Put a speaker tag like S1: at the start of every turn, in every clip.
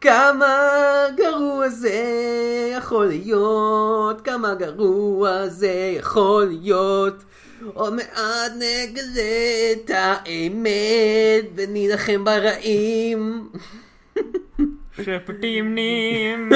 S1: כמה גרוע זה יכול להיות, כמה גרוע זה יכול להיות. עוד מעט נגלה את האמת ונילחם ברעים.
S2: שפטימנים.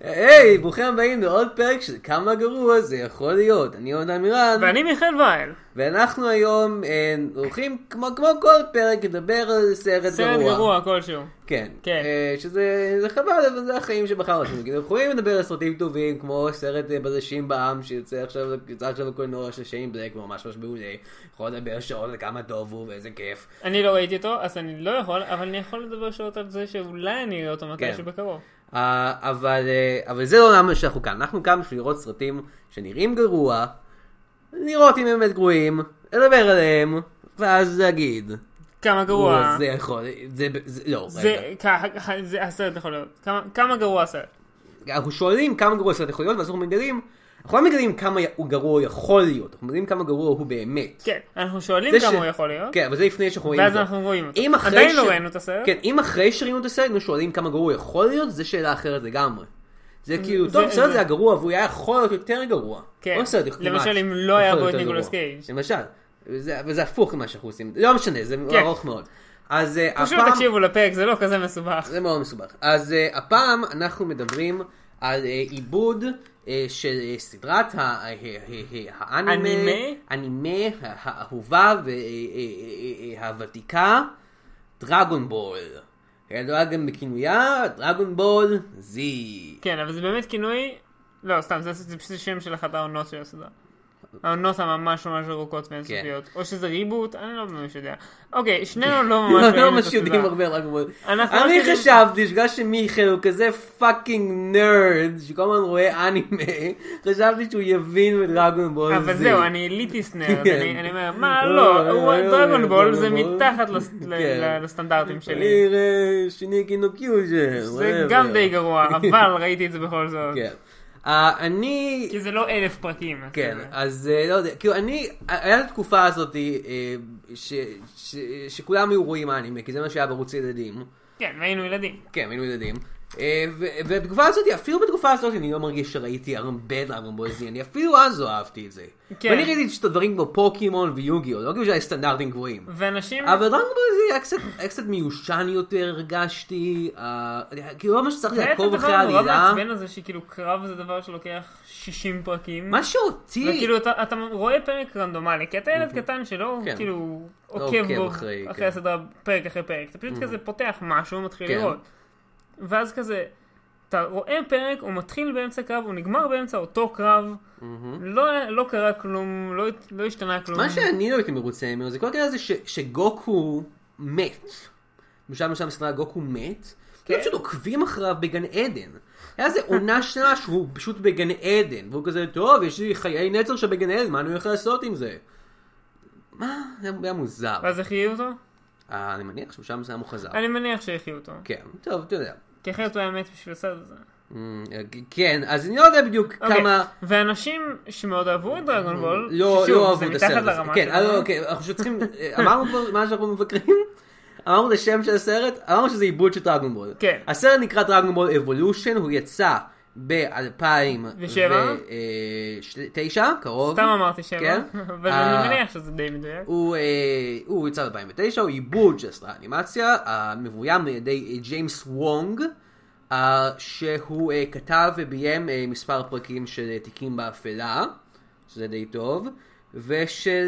S1: היי, ברוכים הבאים לעוד פרק של כמה גרוע זה יכול להיות. אני יונתן מירן.
S2: ואני מיכאל וייל.
S1: ואנחנו היום אה, הולכים, כמו, כמו כל פרק, לדבר על סרט,
S2: סרט גרוע כלשהו.
S1: כן.
S2: כן.
S1: אה, שזה זה חבל, אבל זה החיים שבחרנו. כאילו, אנחנו יכולים לדבר על סרטים טובים, כמו סרט אה, בלשים בעם, שיוצא עכשיו, יצא עכשיו בקולנוע של שיין בלק, הוא ממש ממש מעולה. יכול לדבר שעות על כמה טוב הוא ואיזה כיף.
S2: אני לא ראיתי אותו, אז אני לא יכול, אבל אני יכול לדבר שעות על זה שאולי אני אראה אותו
S1: כן.
S2: מתישהו בקרוב.
S1: אה, אבל, אה, אבל זה לא למה שאנחנו כאן. אנחנו כאן בשביל לראות סרטים שנראים גרוע, לראות אם הם באמת גרועים, לדבר עליהם, ואז להגיד.
S2: כמה גרוע.
S1: זה יכול, זה, זה, לא, רגע.
S2: זה, כ- זה הסרט יכול להיות. כמה- כמה גרוע הסרט.
S1: אנחנו שואלים כמה גרוע הסרט יכול להיות, ואז אנחנו מגלים, אנחנו לא מגלים כמה הוא גרוע יכול להיות, אנחנו מגלים כמה גרוע הוא באמת.
S2: כן, אנחנו שואלים
S1: זה
S2: כמה
S1: ש-
S2: הוא יכול להיות,
S1: כן, אבל זה לפני שאנחנו רואים
S2: ואז
S1: אותו.
S2: אנחנו רואים אותו.
S1: אם אחרי
S2: עדיין
S1: ש-
S2: לא ראינו את הסרט.
S1: כן, אם אחרי שראינו את הסרט, היינו שואלים כמה גרוע הוא יכול להיות, זו שאלה אחרת לגמרי. זה כאילו,
S2: זה-
S1: טוב, הסרט
S2: זה-
S1: זה היה גרוע, והוא היה יכול להיות יותר גרוע.
S2: כן.
S1: עוד סרט, כמעט,
S2: למשל, אם לא
S1: יכול
S2: היה בו
S1: להיות
S2: את
S1: יותר
S2: ניקולס
S1: גרוע.
S2: קייג'.
S1: למשל, וזה- וזה הפוך ממה שאנחנו עושים. לא משנה, זה
S2: כן.
S1: ארוך מאוד. אז אה,
S2: פשוט
S1: הפעם...
S2: תקשיבו לפרק, זה לא כזה מסובך.
S1: זה מאוד מסובך. אז uh, הפעם אנחנו מדברים על אה, עיבוד uh, של אה, סדרת ה- ה- ה- ה- האנימה,
S2: אנימה?
S1: אנימה ה- האהובה אה, והוותיקה, אה, דרגון בול. הידועה גם בכינויה דרגון בול זי.
S2: כן, אבל זה באמת כינוי... לא, סתם, זה, זה פשוט שם של אחת העונות של הסדרה. העונות הממש ממש ארוכות
S1: כן.
S2: ואינסופיות. או שזה ריבוט, אני לא ממש יודע. אוקיי, שנינו לא ממש
S1: לא
S2: ראינו את
S1: ממש יודעים
S2: הסדרה.
S1: הרבה על דרגון בול.
S2: אנחנו רק
S1: אני
S2: יודעים-
S1: חשבתי שבגלל שמיכאל הוא כזה פאקינג נרד שכל הזמן רואה אנימה, חשבתי שהוא יבין בדרגון בול זי.
S2: אבל זהו, אני אליטיסט נרד,
S1: כן.
S2: אני אני אומר, מה
S1: לא,
S2: לא, הוא-
S1: לא,
S2: דרגון
S1: לא,
S2: בול
S1: לא,
S2: זה
S1: לא.
S2: מתחת לס- ל-
S1: כן.
S2: ל- לסטנדרטים שלי.
S1: עיר אה, שיניקי נו קיוז'ר.
S2: זה גם די גרוע, אבל ראיתי את זה בכל זאת.
S1: כן. אה, אני...
S2: כי זה לא אלף פרקים. אז
S1: כן,
S2: זה-
S1: אז אה, לא יודע, כאילו אני, היה את התקופה הזאת אה, ש- ש- שכולם היו רואים אנימה, כי זה מה שהיה בערוץ ילדים.
S2: כן, והיינו ילדים.
S1: כן, היינו ילדים. אה, ו- ובתקופה הזאת, אפילו בתקופה הזאת, אני לא מרגיש שראיתי הרבה דרגון בולזי, אני אפילו אז לא אהבתי את זה.
S2: כן.
S1: ואני ראיתי את הדברים כמו פוקימון ויוגיו, לא כאילו שהיה סטנדרטים גבוהים.
S2: ואנשים...
S1: אבל דרגון בול זה היה קצת, היה קצת מיושן יותר הרגשתי, אה, כאילו לא ממש צריך
S2: זה היה את
S1: לעקוב אחרי
S2: הדבר הנורא
S1: העלילה.
S2: מעצבן הזה שכאילו קרב זה דבר שלוקח 60 פרקים.
S1: מה שאותי,
S2: וכאילו לא, כאילו, אתה, אתה רואה פרק רנדומלי, כי אתה ילד קטן שלא
S1: כן.
S2: כאילו
S1: לא
S2: עוקב
S1: עוקב
S2: בו
S1: אחרי,
S2: אחרי,
S1: כן. Mm-hmm.
S2: הסדרה פרק אחרי פרק, אתה פשוט כזה פותח משהו, מתחיל
S1: כן.
S2: לראות. ואז כזה, אתה רואה פרק, הוא מתחיל באמצע קרב, הוא נגמר באמצע אותו קרב,
S1: Mm-hmm.
S2: לא, לא קרה כלום, לא, הת- לא השתנה כלום.
S1: מה שאני לא הייתי מרוצה ממנו זה כל הקטע הזה ש- שגוקו מת. בשלב מסוים בסדרה גוקו מת,
S2: כן.
S1: כי הם פשוט עוקבים אחריו בגן עדן. היה איזה עונה שנה שהוא פשוט בגן עדן, והוא כזה, טוב, יש לי חיי נצר שבגן עדן, מה אני הולך לעשות עם זה? מה? זה היה מוזר.
S2: ואז החיו אותו?
S1: אה, אני מניח שבשלב מסוים הוא חזר.
S2: אני מניח שהחיו אותו.
S1: כן, טוב, אתה יודע.
S2: כי אחרת הוא היה מת בשביל הסרט הזה.
S1: אמ, כן, אז אני לא יודע בדיוק כמה...
S2: אוקיי, ואנשים שמאוד אהבו את דרגון בול,
S1: לא,
S2: ששוב,
S1: לא
S2: זה
S1: אהבו את
S2: מתחת
S1: הסרט הזה.
S2: לרמה
S1: כן,
S2: שלנו.
S1: אה, לא, אוקיי, אנחנו פשוט צריכים, אה, אמרנו כבר מה שאנחנו מבקרים, אמרנו את השם של הסרט, אמרנו שזה עיבוד של דרגון בול.
S2: כן.
S1: הסרט נקרא דרגון בול אבולושן, הוא יצא
S2: ושבע?
S1: ב-2009, אה, קרוב.
S2: סתם אמרתי שבע,
S1: כן.
S2: אבל
S1: אה,
S2: אני מניח שזה די מדויק.
S1: הוא, אה, הוא יצא ב-2009, הוא עיבוד של סדרת אנימציה, אה, מבוים על ידי אה, ג'יימס וונג, אה, שהוא אה, כתב וביים אה, מספר פרקים של אה, תיקים באפלה, שזה די טוב, ושל,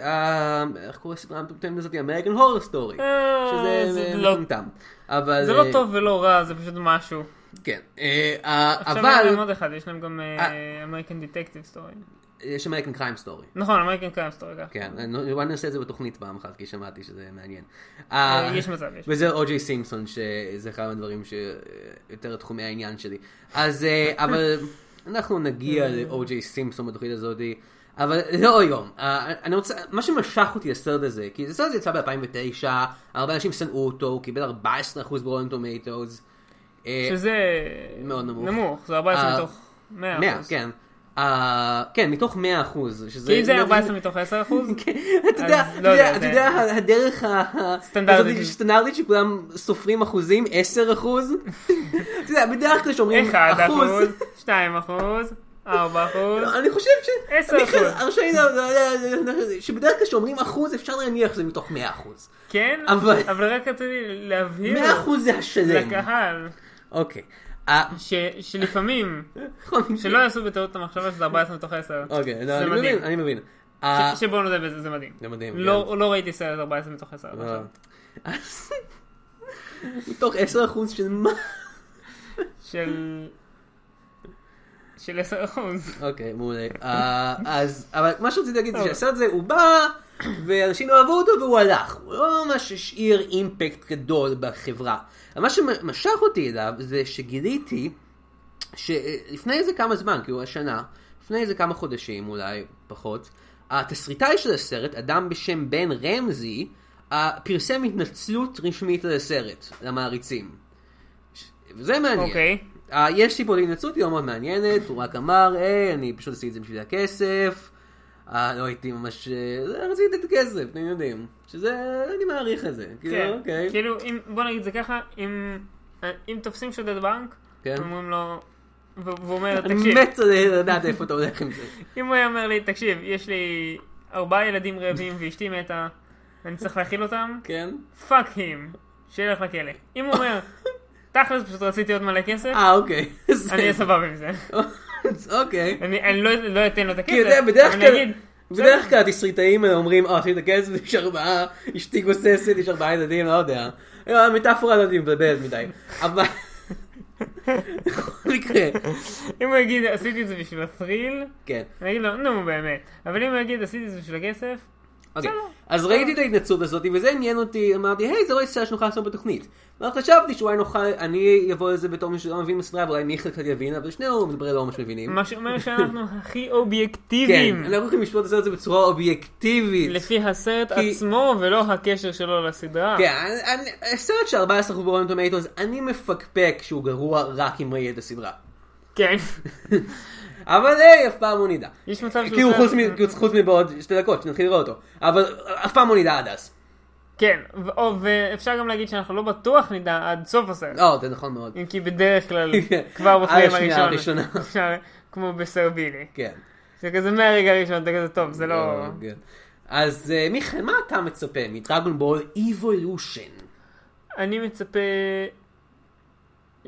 S1: אה, אה, איך קוראים לסדרה המטומטמת הזאת? אמריקן הורר סטורי,
S2: אה,
S1: שזה
S2: זה
S1: אה,
S2: לא-
S1: מטומטם. אבל...
S2: זה
S1: אה,
S2: לא טוב ולא רע, זה פשוט משהו.
S1: כן. אה, אה,
S2: עכשיו יש להם
S1: אבל
S2: עוד אחד, יש להם גם אה,
S1: אה,
S2: אמריקן דטקטיב סטורי.
S1: יש אמריקן קריים סטורי.
S2: נכון, אמריקן קיים סטורי ככה.
S1: כן, אני אולי נעשה את זה בתוכנית פעם אחת, כי שמעתי שזה מעניין. אה,
S2: יש מצב, יש.
S1: וזה או.ג'יי סימפסון, שזה אחד מהדברים שיותר תחומי העניין שלי. אז, אה, אבל אנחנו נגיע לאו.ג'יי סימפסון בתוכנית הזאת, אבל לא היום. אה, אני רוצה, מה שמשך אותי לסרט הזה, כי הסרט הזה יצא ב-2009, הרבה אנשים שנאו אותו, הוא קיבל 14% ברולנד טומטוס.
S2: שזה
S1: אה, מאוד נמוך.
S2: נמוך, זה 14
S1: אה,
S2: מתוך 100
S1: 100,
S2: אחוז.
S1: כן. אה, כן, מתוך 100 אחוז.
S2: כי אם זה היה 14 מתוך 10 אחוז,
S1: אתה יודע,
S2: אז
S1: אתה
S2: לא
S1: יודע,
S2: יודע,
S1: אתה
S2: זה-
S1: יודע, הדרך ה- ה-
S2: סטנדרטית.
S1: הזאת שסטנדרטית שכולם סופרים אחוזים, 10 אחוז. אתה יודע, בדרך כלל שאומרים
S2: 1
S1: כן, אחוז.
S2: אחוז, 2 אחוז, 4 אחוז.
S1: אני חושב ש...
S2: 10%.
S1: אני חושב- אני חושב לא- שזה- זה- זה- זה- זה- לא- שבדרך כלל כשאומרים אחוז אפשר להניח שזה מתוך 100 אחוז.
S2: כן,
S1: אבל-
S2: אבל רק רציתי להבהיר
S1: 100 אחוז זה השלם.
S2: לקהל,
S1: אוקיי. אה,
S2: ש- שלפעמים,
S1: נכון.
S2: שלא יעשו בטעות את המחשבה שזה 14 מתוך 10.
S1: אוקיי, לא,
S2: זה
S1: אני
S2: מדהים.
S1: מבין, אני מבין. אה,
S2: ש- שבואו נודה בזה, זה מדהים.
S1: זה מדהים, כן.
S2: לא לא ראיתי סרט 14 מתוך
S1: אה.
S2: נכון. 10. עד עכשיו.
S1: אז- מתוך 10 אחוז של מה?
S2: של... של 10 אחוז.
S1: אוקיי, מעולה. אה, אז, אבל מה שרציתי להגיד זה שהסרט הזה, הוא בא, ואנשים לא אהבו אותו והוא הלך. הוא לא ממש השאיר אימפקט גדול בחברה. אבל מה שמשך אותי אליו זה שגיליתי שלפני איזה כמה זמן, כאילו השנה, לפני איזה כמה חודשים אולי פחות, התסריטאי של הסרט, אדם בשם בן רמזי, אה, פרסם התנצלות רשמית על הסרט, למעריצים. ש- וזה מעניין.
S2: אוקיי.
S1: אה, יש לי פה התנצלות, היא לא מאוד מעניינת, הוא רק אמר, היי, אני פשוט עשיתי את זה בשביל הכסף, אה, לא הייתי ממש... אה, זה, רציתי לתת כסף, אתם יודעים. שזה, אני מעריך את זה. כאילו,
S2: כן.
S1: אוקיי.
S2: כאילו, אם- בוא נגיד זה ככה, אם- אם תופסים שודד בנק,
S1: כן.
S2: אומרים לו... והוא והוא אומר,
S1: אני
S2: תקשיב,
S1: מת לדעת איפה אתה הולך עם זה.
S2: אם הוא היה אומר לי, תקשיב, יש לי ארבעה ילדים רעבים ואשתי מתה, אני צריך להאכיל אותם,
S1: כן?
S2: פאק הים, שילך לכלא. אם הוא אומר, תכלס פשוט רציתי עוד מלא כסף,
S1: אה, אוקיי. זה-
S2: אני אהיה סבבה עם זה.
S1: אוקיי.
S2: אני אני לא לא אתן לו את הכסף,
S1: כי אתה יודע, בדרך
S2: אבל אני
S1: כלל...
S2: אגיד,
S1: בדרך כלל התסריטאים אומרים, אה, עשיתי את הכסף, יש ארבעה, אשתי גוססת, יש ארבעה ילדים, לא יודע. לא, המטאפורה הזאת היא מבלבלת מדי. אבל... בכל מקרה,
S2: אם הוא יגיד, עשיתי את זה בשביל הטריל,
S1: כן.
S2: אני אגיד לו, נו באמת. אבל אם הוא יגיד, עשיתי את זה בשביל הכסף,
S1: אוקיי,
S2: בסדר.
S1: אז ראיתי את ההתנצלות הזאת, וזה עניין אותי, אמרתי, היי, זה לא יצא שנוכל לעשות בתוכנית. ואז חשבתי שאולי נוכל, אני אבוא לזה בתור מישהו שלא מבין בסדרה, ואולי מיכאל קצת יבין, אבל שנינו מדברים לא ממש מבינים.
S2: מה שאומר שאנחנו הכי
S1: כן,
S2: אובייקטיביים,
S1: אנחנו יכולים לשפוט את זה בצורה אובייקטיבית.
S2: לפי הסרט
S1: כי-
S2: עצמו ולא הקשר שלו לסדרה.
S1: כן, אני- אני- הסרט של 14 ברון טומטוס, אני מפקפק שהוא גרוע רק אם ראי את הסדרה.
S2: כן.
S1: אבל היי, אף פעם לא נדע.
S2: יש מצב שהוא
S1: כאילו
S2: עושה-
S1: חוץ מ- כאילו, חוץ מבעוד שתי דקות, שנתחיל לראות אותו. אבל אף פעם לא נדע עד אז.
S2: כן, ו- או- ואפשר גם להגיד שאנחנו לא בטוח נדע עד סוף הסרט.
S1: לא, זה נכון מאוד.
S2: אם כי בדרך כלל,
S1: כן.
S2: כבר בפנים
S1: על השנייה
S2: הראשון,
S1: הראשונה.
S2: אפשר- כמו בסרבילי.
S1: כן.
S2: שכזה מהרגע הראשון, אתה כזה טוב, זה לא...
S1: כן. אז אה, מיכאל, מה אתה מצפה מדרגון בול איבולושן?
S2: אני מצפה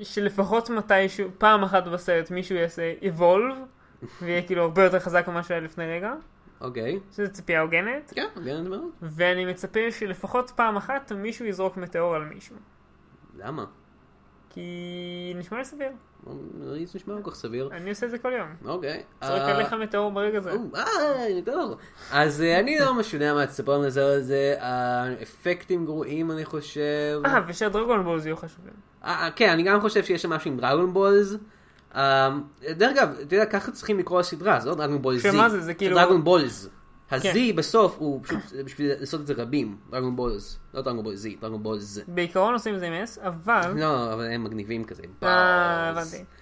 S2: שלפחות מתישהו, פעם אחת בסרט מישהו יעשה Evolve, ויהיה כאילו הרבה יותר חזק ממה שהיה לפני רגע,
S1: אוקיי.
S2: שזו ציפייה הוגנת,
S1: כן, הוגנת מאוד.
S2: ואני מצפה שלפחות פעם אחת מישהו יזרוק מטאור על מישהו,
S1: למה?
S2: כי נשמע לי סביר,
S1: לא, זה נשמע כל כך סביר.
S2: אני עושה את זה כל יום.
S1: אוקיי.
S2: זורק
S1: אה,
S2: עליך מטאור ברגע זה.
S1: או, אה, טוב. אז אה, אני לא ממש יודע מה לספר על זה, אבל זה אה, אפקטים גרועים אני חושב.
S2: אה, ושהדרגון בולז יהיו חשובים.
S1: אה, אה, כן, אני גם חושב שיש שם משהו עם דרגון בולס. אה, דרך אגב, אתה יודע, ככה צריכים לקרוא לסדרה, זה לא דרגון בול זי.
S2: שמה זה? זה כאילו-
S1: דרגון בולס. הזי
S2: כן.
S1: בסוף הוא פשוט זה בשביל לעשות את זה רבים. דרגון בולס. לא דרגון בול זי, דרגון בולס.
S2: בעיקרון עושים את זה עם S, אבל...
S1: לא, אבל הם מגניבים כזה.
S2: אה,
S1: בולס.
S2: הבנתי. כן.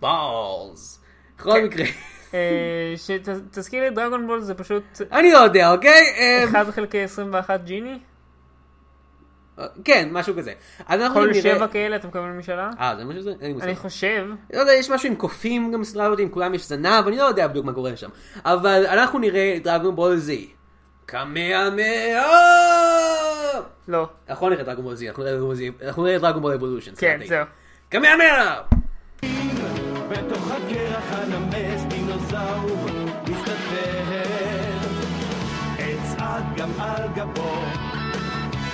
S1: בולס. בכל מקרה.
S2: אה, שתזכיר לי דרגון בול זה פשוט
S1: אני לא יודע, אוקיי? אה,
S2: 1 חלקי 21 ג'יני?
S1: כן, משהו כזה. אז אנחנו
S2: כל
S1: נראה-
S2: שבע כאלה אתה מקבל משאלה?
S1: אה, זה מה שזה? אין לי מושג.
S2: אני חושב,
S1: לא יודע, יש משהו עם קופים גם בסדרה הזאת, עם כולם יש זנב, אני לא יודע בדיוק מה קורה שם. אבל אנחנו נראה את דרגון בול זי. קמאמאה!
S2: לא.
S1: אנחנו לא נראה את דרגון בול זי, אנחנו נראה את דרגון בול זי, אנחנו נראה את דרגון בול אבולושן.
S2: כן, זהו.
S1: קמאמאה!
S3: בתוך הקרח הנמס דינוזאור מסתתר אצעד גם על גבו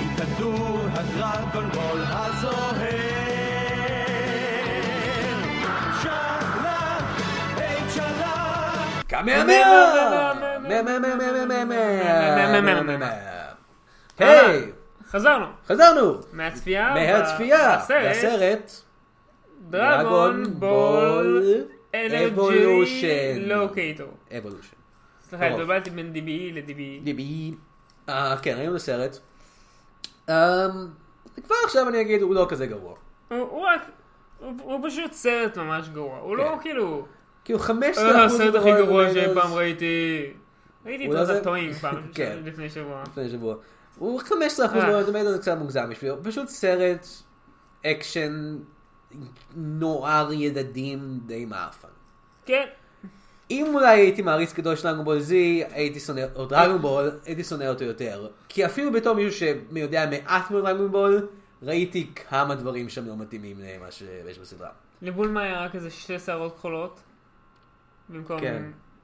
S3: עם כדור הדרגון בול הזוהר שלה, היי שלה
S1: קמאמאה! קמאמאה! היי!
S2: חזרנו.
S1: חזרנו!
S2: מהצפייה.
S1: מהצפייה!
S2: בסרט.
S1: בסרט
S2: דרגון בול
S1: Evolution.
S2: אלרג'י לוקייטור.
S1: אבולושן.
S2: סליחה,
S1: טוב. E.
S2: התבלבלתי בין E DBE ל-DBE.
S1: ליבי. אה, כן, ראינו את הסרט. אה, כבר עכשיו אני אגיד, הוא לא כזה גרוע.
S2: הוא הוא רק... הוא- הוא פשוט סרט ממש גרוע. הוא
S1: כן.
S2: לא כאילו...
S1: כאילו 15 אחוז...
S2: אה, הסרט הכי גרוע שאי פעם ראיתי. ראיתי את
S1: אולי לא זה-
S2: רטטויים פעם,
S1: כן.
S2: לפני שבוע.
S1: לפני שבוע. הוא 15 אחוז
S2: אה.
S1: מרטומטו זה קצת מוגזם בשבילו. פשוט סרט אקשן נוער ילדים די מאפן.
S2: כן.
S1: אם אולי הייתי מעריץ גדול של דרגנבול זי, הייתי שונא, או דרגנבול, הייתי שונא אותו יותר. כי אפילו בתור מישהו שיודע מעט מאוד דרגנבול, ראיתי כמה דברים שם לא מתאימים למה שיש בסדרה.
S2: לבולמה היה רק איזה שתי שערות כחולות. במקום
S1: כן.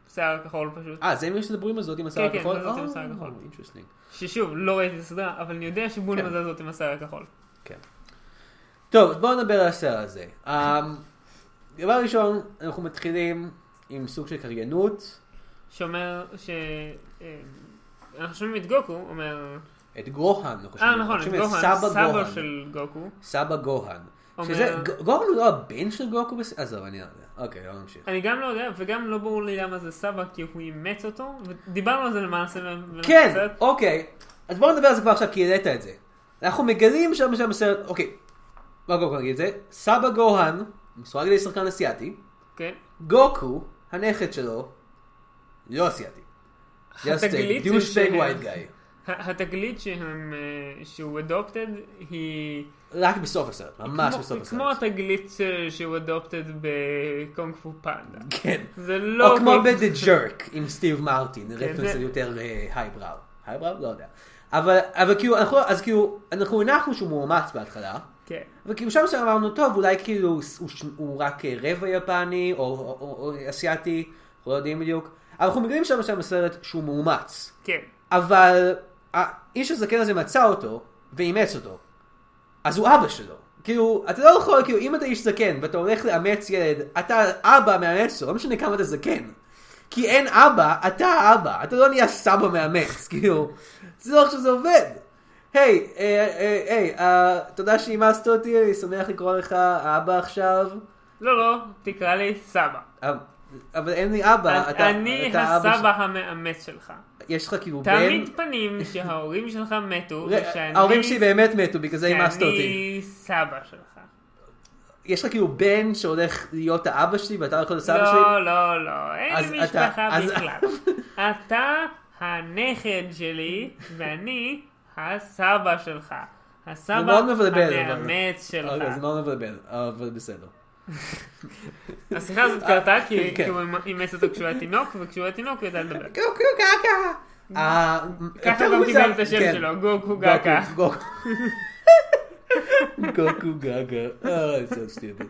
S2: שיער כחול פשוט.
S1: אה, זה מי שדברים על זאת עם השיער
S2: כן,
S1: הכחול?
S2: כן, זאת עם
S1: אה,
S2: השיער הכחול.
S1: interesting.
S2: ששוב, לא ראיתי את הסדרה, אבל אני יודע שבולמה
S1: כן.
S2: זה זאת עם השיער הכחול.
S1: כן. טוב, בואו נדבר על הסרט הזה. אמ, דבר ראשון, אנחנו מתחילים עם סוג של קריינות.
S2: שאומר ש... אה, אנחנו שומעים את גוקו, אומר...
S1: את גוהן, אנחנו
S2: אה,
S1: חושבים.
S2: נכון, את
S1: אנחנו חושבים
S2: גוהן,
S1: סבא
S2: סבא
S1: גוהן.
S2: של גוקו.
S1: סבא גוהן.
S2: אומר-
S1: שזה, ג- גוהן הוא לא הבן של גוקו בס... עזוב, אני לא יודע. אוקיי, לא נמשיך.
S2: אני גם לא יודע, וגם לא ברור לי למה זה סבא, כי הוא אימץ אותו, ודיברנו על זה למעשה. במהלך
S1: כן,
S2: הסרט.
S1: אוקיי. אז בואו נדבר על זה כבר עכשיו, כי העלית את זה. אנחנו מגלים שם שם בסרט, אוקיי. מה גוקו נגיד את זה? סבא גוהן, מסורג על ידי שחקן אסיאתי.
S2: כן.
S1: גוקו, הנכד שלו, לא אסיאתי. Just a
S2: התגלית זה
S1: douchebag
S2: שהם-
S1: white guy.
S2: ה- התגלית שהם, אה, שהוא אדופטד היא...
S1: רק בסוף הסרט, ממש
S2: כמו-
S1: בסוף הסרט.
S2: כמו התגלית אה, שהוא אדופטד בקונג פו פנדה.
S1: כן.
S2: זה לא...
S1: או כמו
S2: קונג-
S1: ב-The Jerk עם סטיב מרטין, רפרנס
S2: זה-
S1: יותר הייבראו. הייבראו? לא יודע. אבל, אבל כאילו, אנחנו, אז כאילו, אנחנו הנחנו שהוא מאומץ בהתחלה,
S2: כן.
S1: וכאילו שם שם אמרנו, טוב, אולי כאילו הוא, ש- הוא, ש- הוא רק אה, רבע יפני, או, או, או, או אסיאתי, אנחנו לא יודעים בדיוק. אבל אנחנו מגלים שם שם בסרט שהוא מאומץ.
S2: כן.
S1: אבל האיש הזקן הזה מצא אותו ואימץ אותו. אז הוא אבא שלו. כאילו, אתה לא יכול, כאילו, אם אתה איש זקן ואתה הולך לאמץ ילד, אתה אבא מאמץ שלו, לא משנה כמה אתה זקן. כי אין אבא, אתה האבא, אתה לא נהיה סבא מאמץ, כאילו, זה לא עכשיו זה עובד. היי, אה, אה, היי, אה, תודה שאימצת אותי, אני שמח לקרוא לך אבא עכשיו.
S2: לא, לא, תקרא לי סבא.
S1: אה, אבל אין לי אבא, אתה,
S2: אני
S1: אתה אבא
S2: הסבא המאמץ שלך.
S1: ש- יש לך כאילו בן?
S2: תעמיד פנים שההורים שלך מתו, ושאני...
S1: ההורים שלי באמת מתו, בגלל זה אימצת אותי.
S2: שאני סבא שלך.
S1: יש לך כאילו בן שהולך להיות האבא שלי ואתה הולך להיות הסבא שלי? אוקיי,
S2: לא, לא, לא,
S1: אז
S2: אין לי
S1: אתה-
S2: משפחה
S1: אז-
S2: בכלל. אתה הנכד שלי, ואני הסבא שלך.
S1: זה
S2: הסבא
S1: מאוד מבלבל. אבל-
S2: המאמץ שלך.
S1: אוקיי, זה מאוד מבלבל, אבל בסדר.
S2: השיחה הזאת קרתה כי
S1: כן.
S2: כי הוא אימץ אותו כשהוא היה תינוק, וכשהוא היה תינוק הוא ידע לדבר.
S1: קוקו קקה. אה,
S2: ככה
S1: יותר
S2: הוא גם
S1: מוזר-
S2: קיבל את השם
S1: כן.
S2: שלו, גוקו גקה.
S1: גוקו גוקו גגה. אה, זה סטיובי.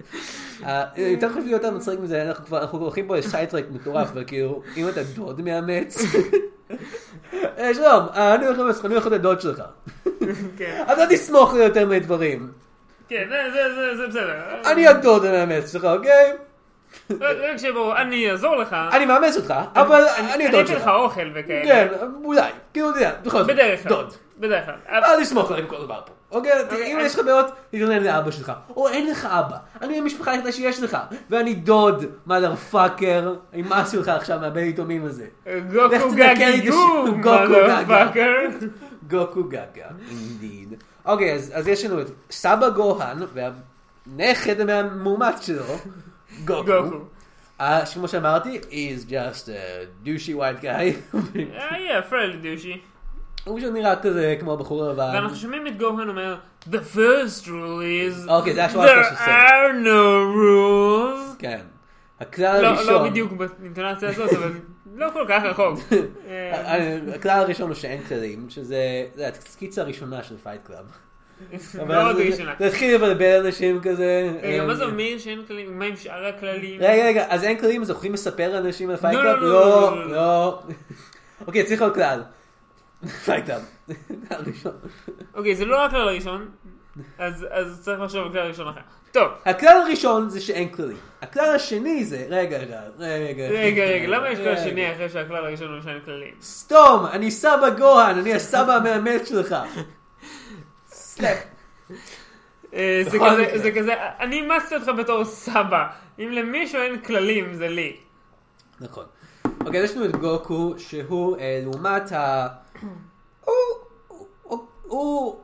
S1: אה, יותר חשוב להיות המצחיק מזה, אנחנו כבר, אנחנו הולכים פה לסייטרק מטורף, וכאילו, אם אתה דוד מאמץ... אה, שלום, אה, אני הולך לעשות- אני הולך להיות הדוד שלך.
S2: כן,
S1: אתה תסמוך לי יותר מדברים.
S2: כן, זה- זה- זה- זה בסדר.
S1: אני הדוד המאמץ שלך, אוקיי?
S2: רק רק שברור, אני אעזור לך.
S1: אני מאמץ אותך, אבל אני
S2: אני
S1: הדוד
S2: אתן לך
S1: שלך.
S2: אוכל וכאלה.
S1: כן, אולי. כאילו, אתה יודע, בכל זאת.
S2: בדרך כלל.
S1: דוד.
S2: בדרך כלל. אבל-
S1: אל תסמוך עליהם כל דבר פה. אוקיי, ת-
S2: אוקיי,
S1: אם
S2: אני-
S1: יש לך בעיות, תתלונן לאבא שלך. או אין לך אבא. אני המשפחה היחידה שיש לך. ואני דוד, מאדר פאקר. נמאס לך עכשיו מהבן יתומים הזה. אה, לך
S2: גוקו
S1: תתקן לי את
S2: גגיגו,
S1: השם, גוקו גגה.
S2: מודרפאקר.
S1: גוקו גגה, אינדיד. אוקיי, אז אז יש לנו את סבא גוהן, והנכד המאומץ שלו, גוקו.
S2: גוקו.
S1: אה, שכמו שאמרתי, is just a douchey white guy.
S2: אה, יהיה, פרלי דושי.
S1: הוא פשוט נראה כזה כמו הבחור לבן.
S2: ואנחנו שומעים את גוהן אומר, The first rule is,
S1: אוקיי, זה השורה
S2: there
S1: של הסרט.
S2: are no rules.
S1: כן. הכלל
S2: לא,
S1: הראשון.
S2: לא בדיוק באינטונציה הזאת, אבל לא כל כך רחוק. אה,
S1: הכלל הראשון הוא שאין כללים, שזה זה הסקיצה הראשונה של פייט קלאב.
S2: מאוד ראשונה.
S1: להתחיל לבלבל אנשים כזה.
S2: רגע,
S1: אה,
S2: מה זה אומר שאין כללים? מה עם שאר הכללים?
S1: רגע, רגע, אז אין כללים, אז הולכים לספר לאנשים על פייט
S2: לא,
S1: קלאב?
S2: לא, לא,
S1: לא,
S2: לא,
S1: לא. אוקיי, צריך עוד כלל. פייט קלאב. הראשון.
S2: אוקיי, זה לא הכלל הראשון, אז אז צריך לחשוב על כלל ראשון אחר. טוב,
S1: הכלל הראשון זה שאין כללים. הכלל השני זה, רגע, רגע, רגע.
S2: רגע, רגע,
S1: אה,
S2: למה יש כלל
S1: רגע.
S2: שני אחרי שהכלל הראשון הוא שאין כללים?
S1: סתום, אני סבא גוהן, אני הסבא המאמץ שלך. סלאפ.
S2: אה, זה
S1: בכל
S2: כזה-
S1: מקרה.
S2: זה כזה, אני אימצתי אותך בתור סבא. אם למישהו אין כללים, זה לי.
S1: נכון. אוקיי, אז יש לנו את גוקו, שהוא אה, לעומת ה... הוא... הוא- הוא...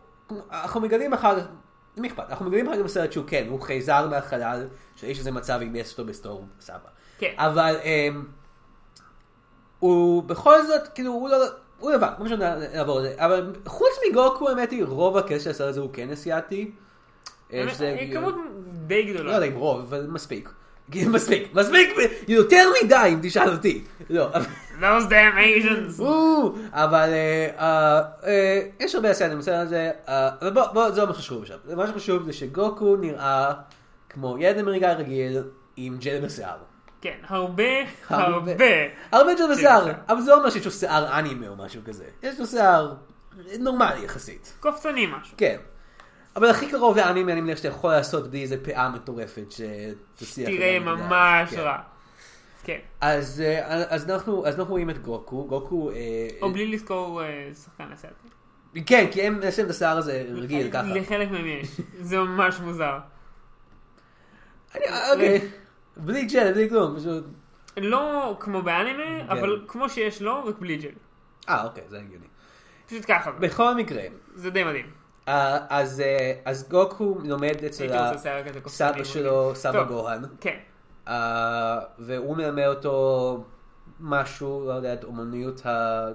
S1: אנחנו מגלים אחר כך מי אכפת? אנחנו מגלים אחר כך בסרט שהוא כן, הוא חייזר מהחלל, שיש איזה מצב עם אסטו בסטור סבא.
S2: כן.
S1: אבל אמ, הוא בכל זאת, כאילו, הוא לא... הוא לבד, לא משנה לעבור את זה, אבל חוץ מגוקו, האמת היא, רוב הכסף של הסרט הזה הוא כן אסיאתי. אה, שזה-
S2: אה, כמות די
S1: לא
S2: גדולה.
S1: יודע אם רוב, אבל מספיק. כאילו, מספיק, מספיק, יותר מדי אם תשאל אותי. לא, אבל-
S2: Those damn Asians.
S1: וואו, אבל אה, אה, אה, יש הרבה הסיינים בסדר הזה, אה, אבל בוא, בוא, זה לא מה שחשוב עכשיו. מה שחשוב זה שגוקו נראה כמו ילד אמריקאי רגיל עם ג'ל בשיער.
S2: כן, הרבה, הרבה. כן.
S1: הרבה ג'ל בשיער,
S2: בשיער.
S1: אבל זה לא אומר שיש לו שיער אנימה או משהו כזה. יש לו שיער נורמלי יחסית,
S2: קופצני משהו.
S1: כן. אבל הכי קרוב לאנימה אני מניח שאתה יכול לעשות בלי איזה פאה מטורפת שתסיח.
S2: תראה
S1: אדם לדעת.
S2: ממש
S1: כן.
S2: רע. כן.
S1: אז אה, אז אנחנו אז אנחנו רואים את גוקו, גוקו... אה,
S2: או בלי לזכור אה, שחקן אסיאתי.
S1: כן, כי הם יש להם את השיער הזה
S2: אה,
S1: רגיל ככה.
S2: לחלק מהם יש. זה ממש מוזר.
S1: אני- אוקיי. בלי ג'ל, בלי כלום, פשוט...
S2: לא כמו באנימה,
S1: כן.
S2: אבל כמו שיש לו, רק בלי ג'ל.
S1: אה, אוקיי, זה הגיוני.
S2: פשוט ככה.
S1: בכל מקרה,
S2: זה די מדהים.
S1: אה, אז אה, אז גוקו לומד אצל
S2: הייתי רוצה כאילו, שיער כזה קופצני.
S1: הסבא שלו, סבא
S2: טוב.
S1: גוהן,
S2: כן.
S1: אה, והוא מלמד אותו משהו, לא יודע, את אומנויות ה...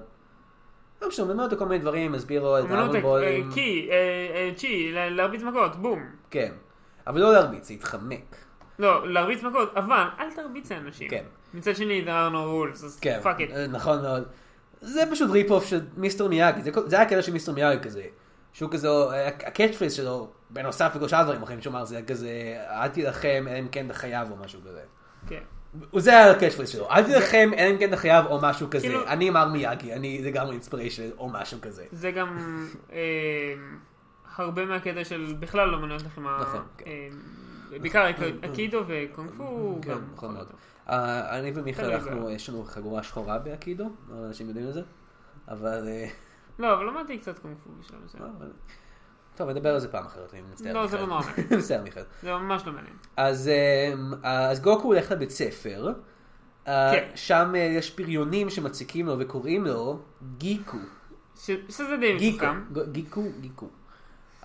S1: לא משנה, הוא מלמד אותו כל מיני דברים, מסביר לו את
S2: אמנות
S1: הארבע בולים.
S2: קי, אה, אה, צ'י, לה- להרביץ מכות, בום.
S1: כן. אבל לא להרביץ, להתחמק.
S2: לא, להרביץ מכות, אבל אל תרביץ לאנשים.
S1: כן.
S2: מצד שני, there are no rules, אז
S1: כן,
S2: fuck it.
S1: אה, נכון מאוד. זה פשוט ריפ אוף של מיסטר מיאגי, זה כל- זה היה הקטע של מיסטר מיאגי כזה. שהוא כזה, הקאץ' פריס שלו, בנוסף לכל שאר הדברים אחרים שהוא אמר, זה היה כזה, אל תילחם, אלא אם כן אתה חייב או משהו כזה.
S2: כן.
S1: הוא- זה היה הקאץ' פריס שלו, אל תילחם, אלא אם כן אתה חייב או משהו
S2: כאילו-
S1: כזה. אני מר מיאגי, אני לגמרי אינספיריישן או משהו כזה.
S2: זה גם אה, הרבה מהקטע של בכלל לא מנויות לחימה.
S1: נכון, כן. נכון.
S2: אה, בעיקר הק- הקידו וקונג פו.
S1: כן,
S2: גם
S1: נכון מאוד.
S2: פחות.
S1: אה, אני
S2: כן,
S1: ומיכאל,
S2: זה
S1: אנחנו,
S2: היה.
S1: יש לנו חגורה שחורה בהקידו, לא אנשים יודעים את זה, אבל... אה,
S2: לא, אבל למדתי קצת קונג פו בשלב מסוים.
S1: אבל- טוב, נדבר על זה פעם אחרת, אני מצטער.
S2: לא, זה
S1: מיכאל.
S2: לא נורא.
S1: מצטער, מיכאל.
S2: זה ממש לא מעניין.
S1: אז, אמ, אז גוקו הולך לבית ספר, אה,
S2: כן.
S1: שם אה, יש בריונים שמציקים לו וקוראים לו גיקו.
S2: ש- שזה די
S1: גיקו,
S2: מתוחכם.
S1: ג- גיקו, גיקו.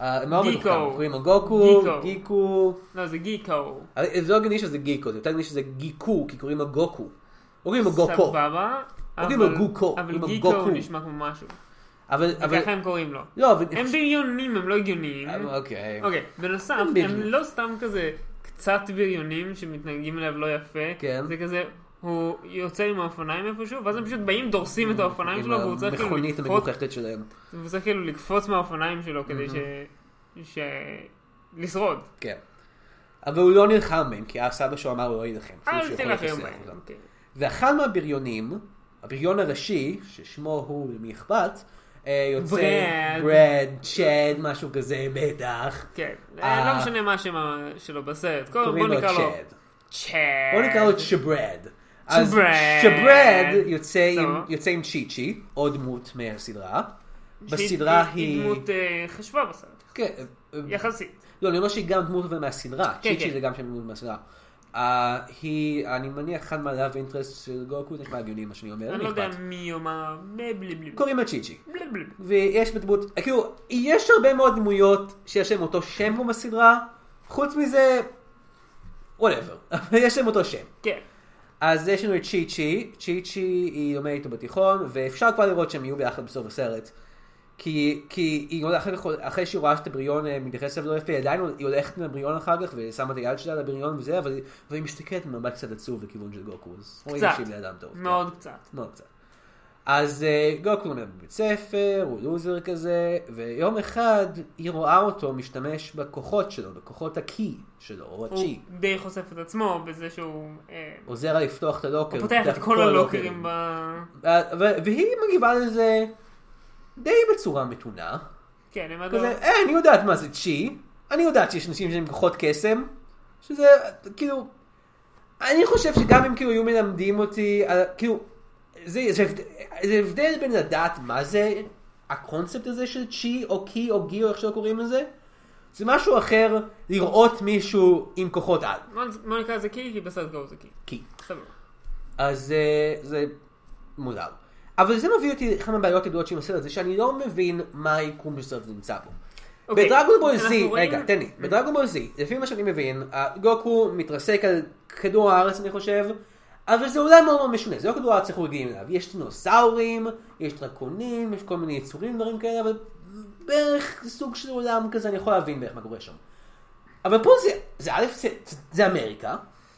S1: אה, הם לא
S2: גיקו.
S1: מתוחכם, קוראים לו גוקו,
S2: גיקו.
S1: גיקו.
S2: לא, זה גיקו.
S1: אבל זה לא הגיוני שזה גיקו, זה יותר הגיוני שזה גיקו, כי קוראים לו גוקו. לא קוראים לו גוקו.
S2: סבבה.
S1: לא
S2: אבל-
S1: קוראים לו גוקו, קוראים
S2: אבל
S1: לו
S2: גיקו
S1: גוקו.
S2: נשמע כמו משהו.
S1: אבל, אבל,
S2: ככה הם קוראים לו.
S1: לא, אבל,
S2: אוקיי, הם בריונים, הם לא הגיוניים.
S1: אבל- אוקיי.
S2: אוקיי, בנוסף,
S1: הם
S2: הם
S1: בריונים.
S2: לא סתם כזה קצת בריונים שמתנהגים אליו לא יפה.
S1: כן.
S2: זה כזה, הוא יוצא עם האופניים איפשהו, ואז הם פשוט באים, דורסים את האופניים שלו, והוא צריך כאילו
S1: המכונית
S2: לקפוץ,
S1: המגוחכת שלהם.
S2: והוא צריך כאילו לקפוץ מהאופניים שלו כדי ש... ש... לשרוד.
S1: כן. אבל הוא לא נלחם בהם, כי הסבא שלו אמר לו לא יילחם. אפילו
S2: אה, אל
S1: שהוא כן. יכול
S2: תילחם
S1: לחסל
S2: בהם.
S1: אותם.
S2: אוקיי.
S1: ואחד מהבריונים, הבריון הראשי, ששמו הוא, למי אכפת, אה, יוצא
S2: ברד.
S1: ברד, צ'ד, משהו כזה, בטח.
S2: כן,
S1: אה.
S2: לא משנה מה השם שלו בסרט. קודם כל,
S1: קוראים
S2: בוא
S1: לו
S2: נקרא לו...
S1: צ'ד.
S2: צ'אט.
S1: בוא נקרא לו צ'ברד. אז
S2: צ'ברד.
S1: צ'ברד יוצא עם-
S2: טוב.
S1: יוצא עם צ'יצ'י, עוד דמות מהסדרה.
S2: שהיא-
S1: בסדרה היא...
S2: היא דמות אה, חשובה בסרט.
S1: כן, אה,
S2: יחסית.
S1: לא, אני אומר שהיא גם דמות אבל מהסדרה.
S2: כן.
S1: צ'יצ'י זה גם שם דמות מהסדרה. אה, היא, אני מניח, אחד מהלאב אינטרסט של גוקו, זה נשמע הגיוני מה שאני אומר.
S2: אני לא
S1: לא
S2: יודע
S1: אכפת.
S2: מי יאמר... בלי בלי בלי.
S1: קוראים לה צ'יצ'י.
S2: בלי בלי.
S1: ויש בדמות, כאילו, יש הרבה מאוד דמויות שיש להם אותו שם כמו בסדרה, חוץ מזה, וואטאבר, אבל יש להם אותו שם.
S2: כן.
S1: אז יש לנו את צ'י צ'י, צ'י צ'י היא לומדת איתו בתיכון, ואפשר כבר לראות שהם יהיו ביחד בסוף הסרט. כי, כי היא הולכת, אחרי, כך- אחרי שהיא רואה שאת הבריון אה, מתייחס אליו לא יפה, עדיין היא הולכת עם הבריון אחר כך, ושמה את היד שלה על הבריון וזה, אבל, אבל היא מסתכלת במבט קצת עצוב לכיוון של גוקו, אז רואים
S2: קצת.
S1: שהיא בן אדם טוב. כן.
S2: מאוד קצת.
S1: מאוד קצת. אז אה, גוקו לומד בבית ספר, הוא לוזר כזה, ויום אחד היא רואה אותו משתמש בכוחות שלו, בכוחות הקי שלו, או
S2: הוא
S1: הצ'י.
S2: די חושף את עצמו בזה שהוא... אה,
S1: עוזר לה לפתוח את לא הלוקר.
S2: הוא פותח את
S1: פותח
S2: כל הלוקרים ב...
S1: ו- ו- והיא מגיבה לזה די בצורה מתונה.
S2: כן, הם
S1: כזה,
S2: עדיין...
S1: אה, אני יודעת מה זה צ'י, אני יודעת שיש אנשים שהם כוחות קסם, שזה כאילו, אני חושב שגם אם כאילו היו מלמדים אותי, על- כאילו, זה, זה, הבד- זה הבדל בין לדעת מה זה הקונספט הזה של צ'י או קי או גי או איך שלא קוראים לזה, זה משהו אחר לראות מישהו עם כוחות על,
S2: בוא נקרא לזה קי, כי בסרט קראו לזה קי.
S1: קי.
S2: סבבה.
S1: אז אה, זה מוזר. אבל זה מביא אותי לאחת מהבעיות הגדולות של הסרט, זה שאני לא מבין מה היקום של הסרט הזה נמצא בו.
S2: אוקיי,
S1: בדרגונבול
S2: אנחנו
S1: זי,
S2: רואים-
S1: רגע, תן לי, בדרגונבול זי, לפי מה שאני מבין, ה- גוקו מתרסק על כדור הארץ, אני חושב, אבל זה אולי מאוד מאוד משונה, זה לא כדור הארץ שאנחנו רגילים אליו, יש דינוסאורים, יש דרקונים, יש כל מיני יצורים, דברים כאלה, אבל בערך סוג של עולם כזה, אני יכול להבין בערך מה קורה שם. אבל פה זה, זה א', זה, זה אמריקה,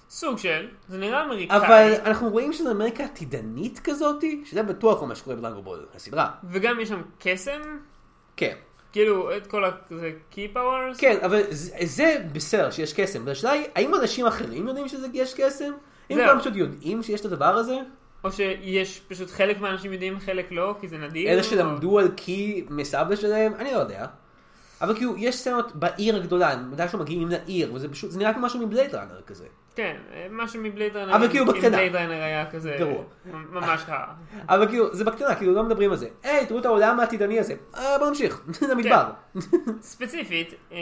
S2: סוג של, זה נראה אמריקאי.
S1: אבל אנחנו רואים שזו אמריקה עתידנית כזאתי, שזה בטוח לא מה שקורה בדרגונבול, הסדרה.
S2: וגם יש שם קסם,
S1: כן.
S2: כאילו את כל ה-key powers.
S1: כן, אבל זה, זה בסדר שיש קסם, והשאלה היא, האם אנשים אחרים יודעים שיש קסם? אם
S2: זהו.
S1: כולם פשוט יודעים שיש את הדבר הזה?
S2: או שיש פשוט חלק מהאנשים יודעים, חלק לא, כי זה נדיר.
S1: אלה
S2: או-
S1: שלמדו על קי מסבא שלהם? אני לא יודע. אבל כאילו, יש סצנות בעיר הגדולה, מתי שמגיעים לעיר, וזה פשוט, זה נראה כמו משהו מבלייד ראנר כזה.
S2: כן, משהו מבלייד ראנר.
S1: אבל כאילו
S2: עם-
S1: בקטנה.
S2: עם בלייד ראנר היה כזה.
S1: גרוע.
S2: מ- ממש רע.
S1: אבל כאילו, זה בקטנה, כאילו לא מדברים על זה. היי, תראו את העולם העתידני הזה. אה, בוא נמשיך, למדבר.
S2: ספציפית, אמ,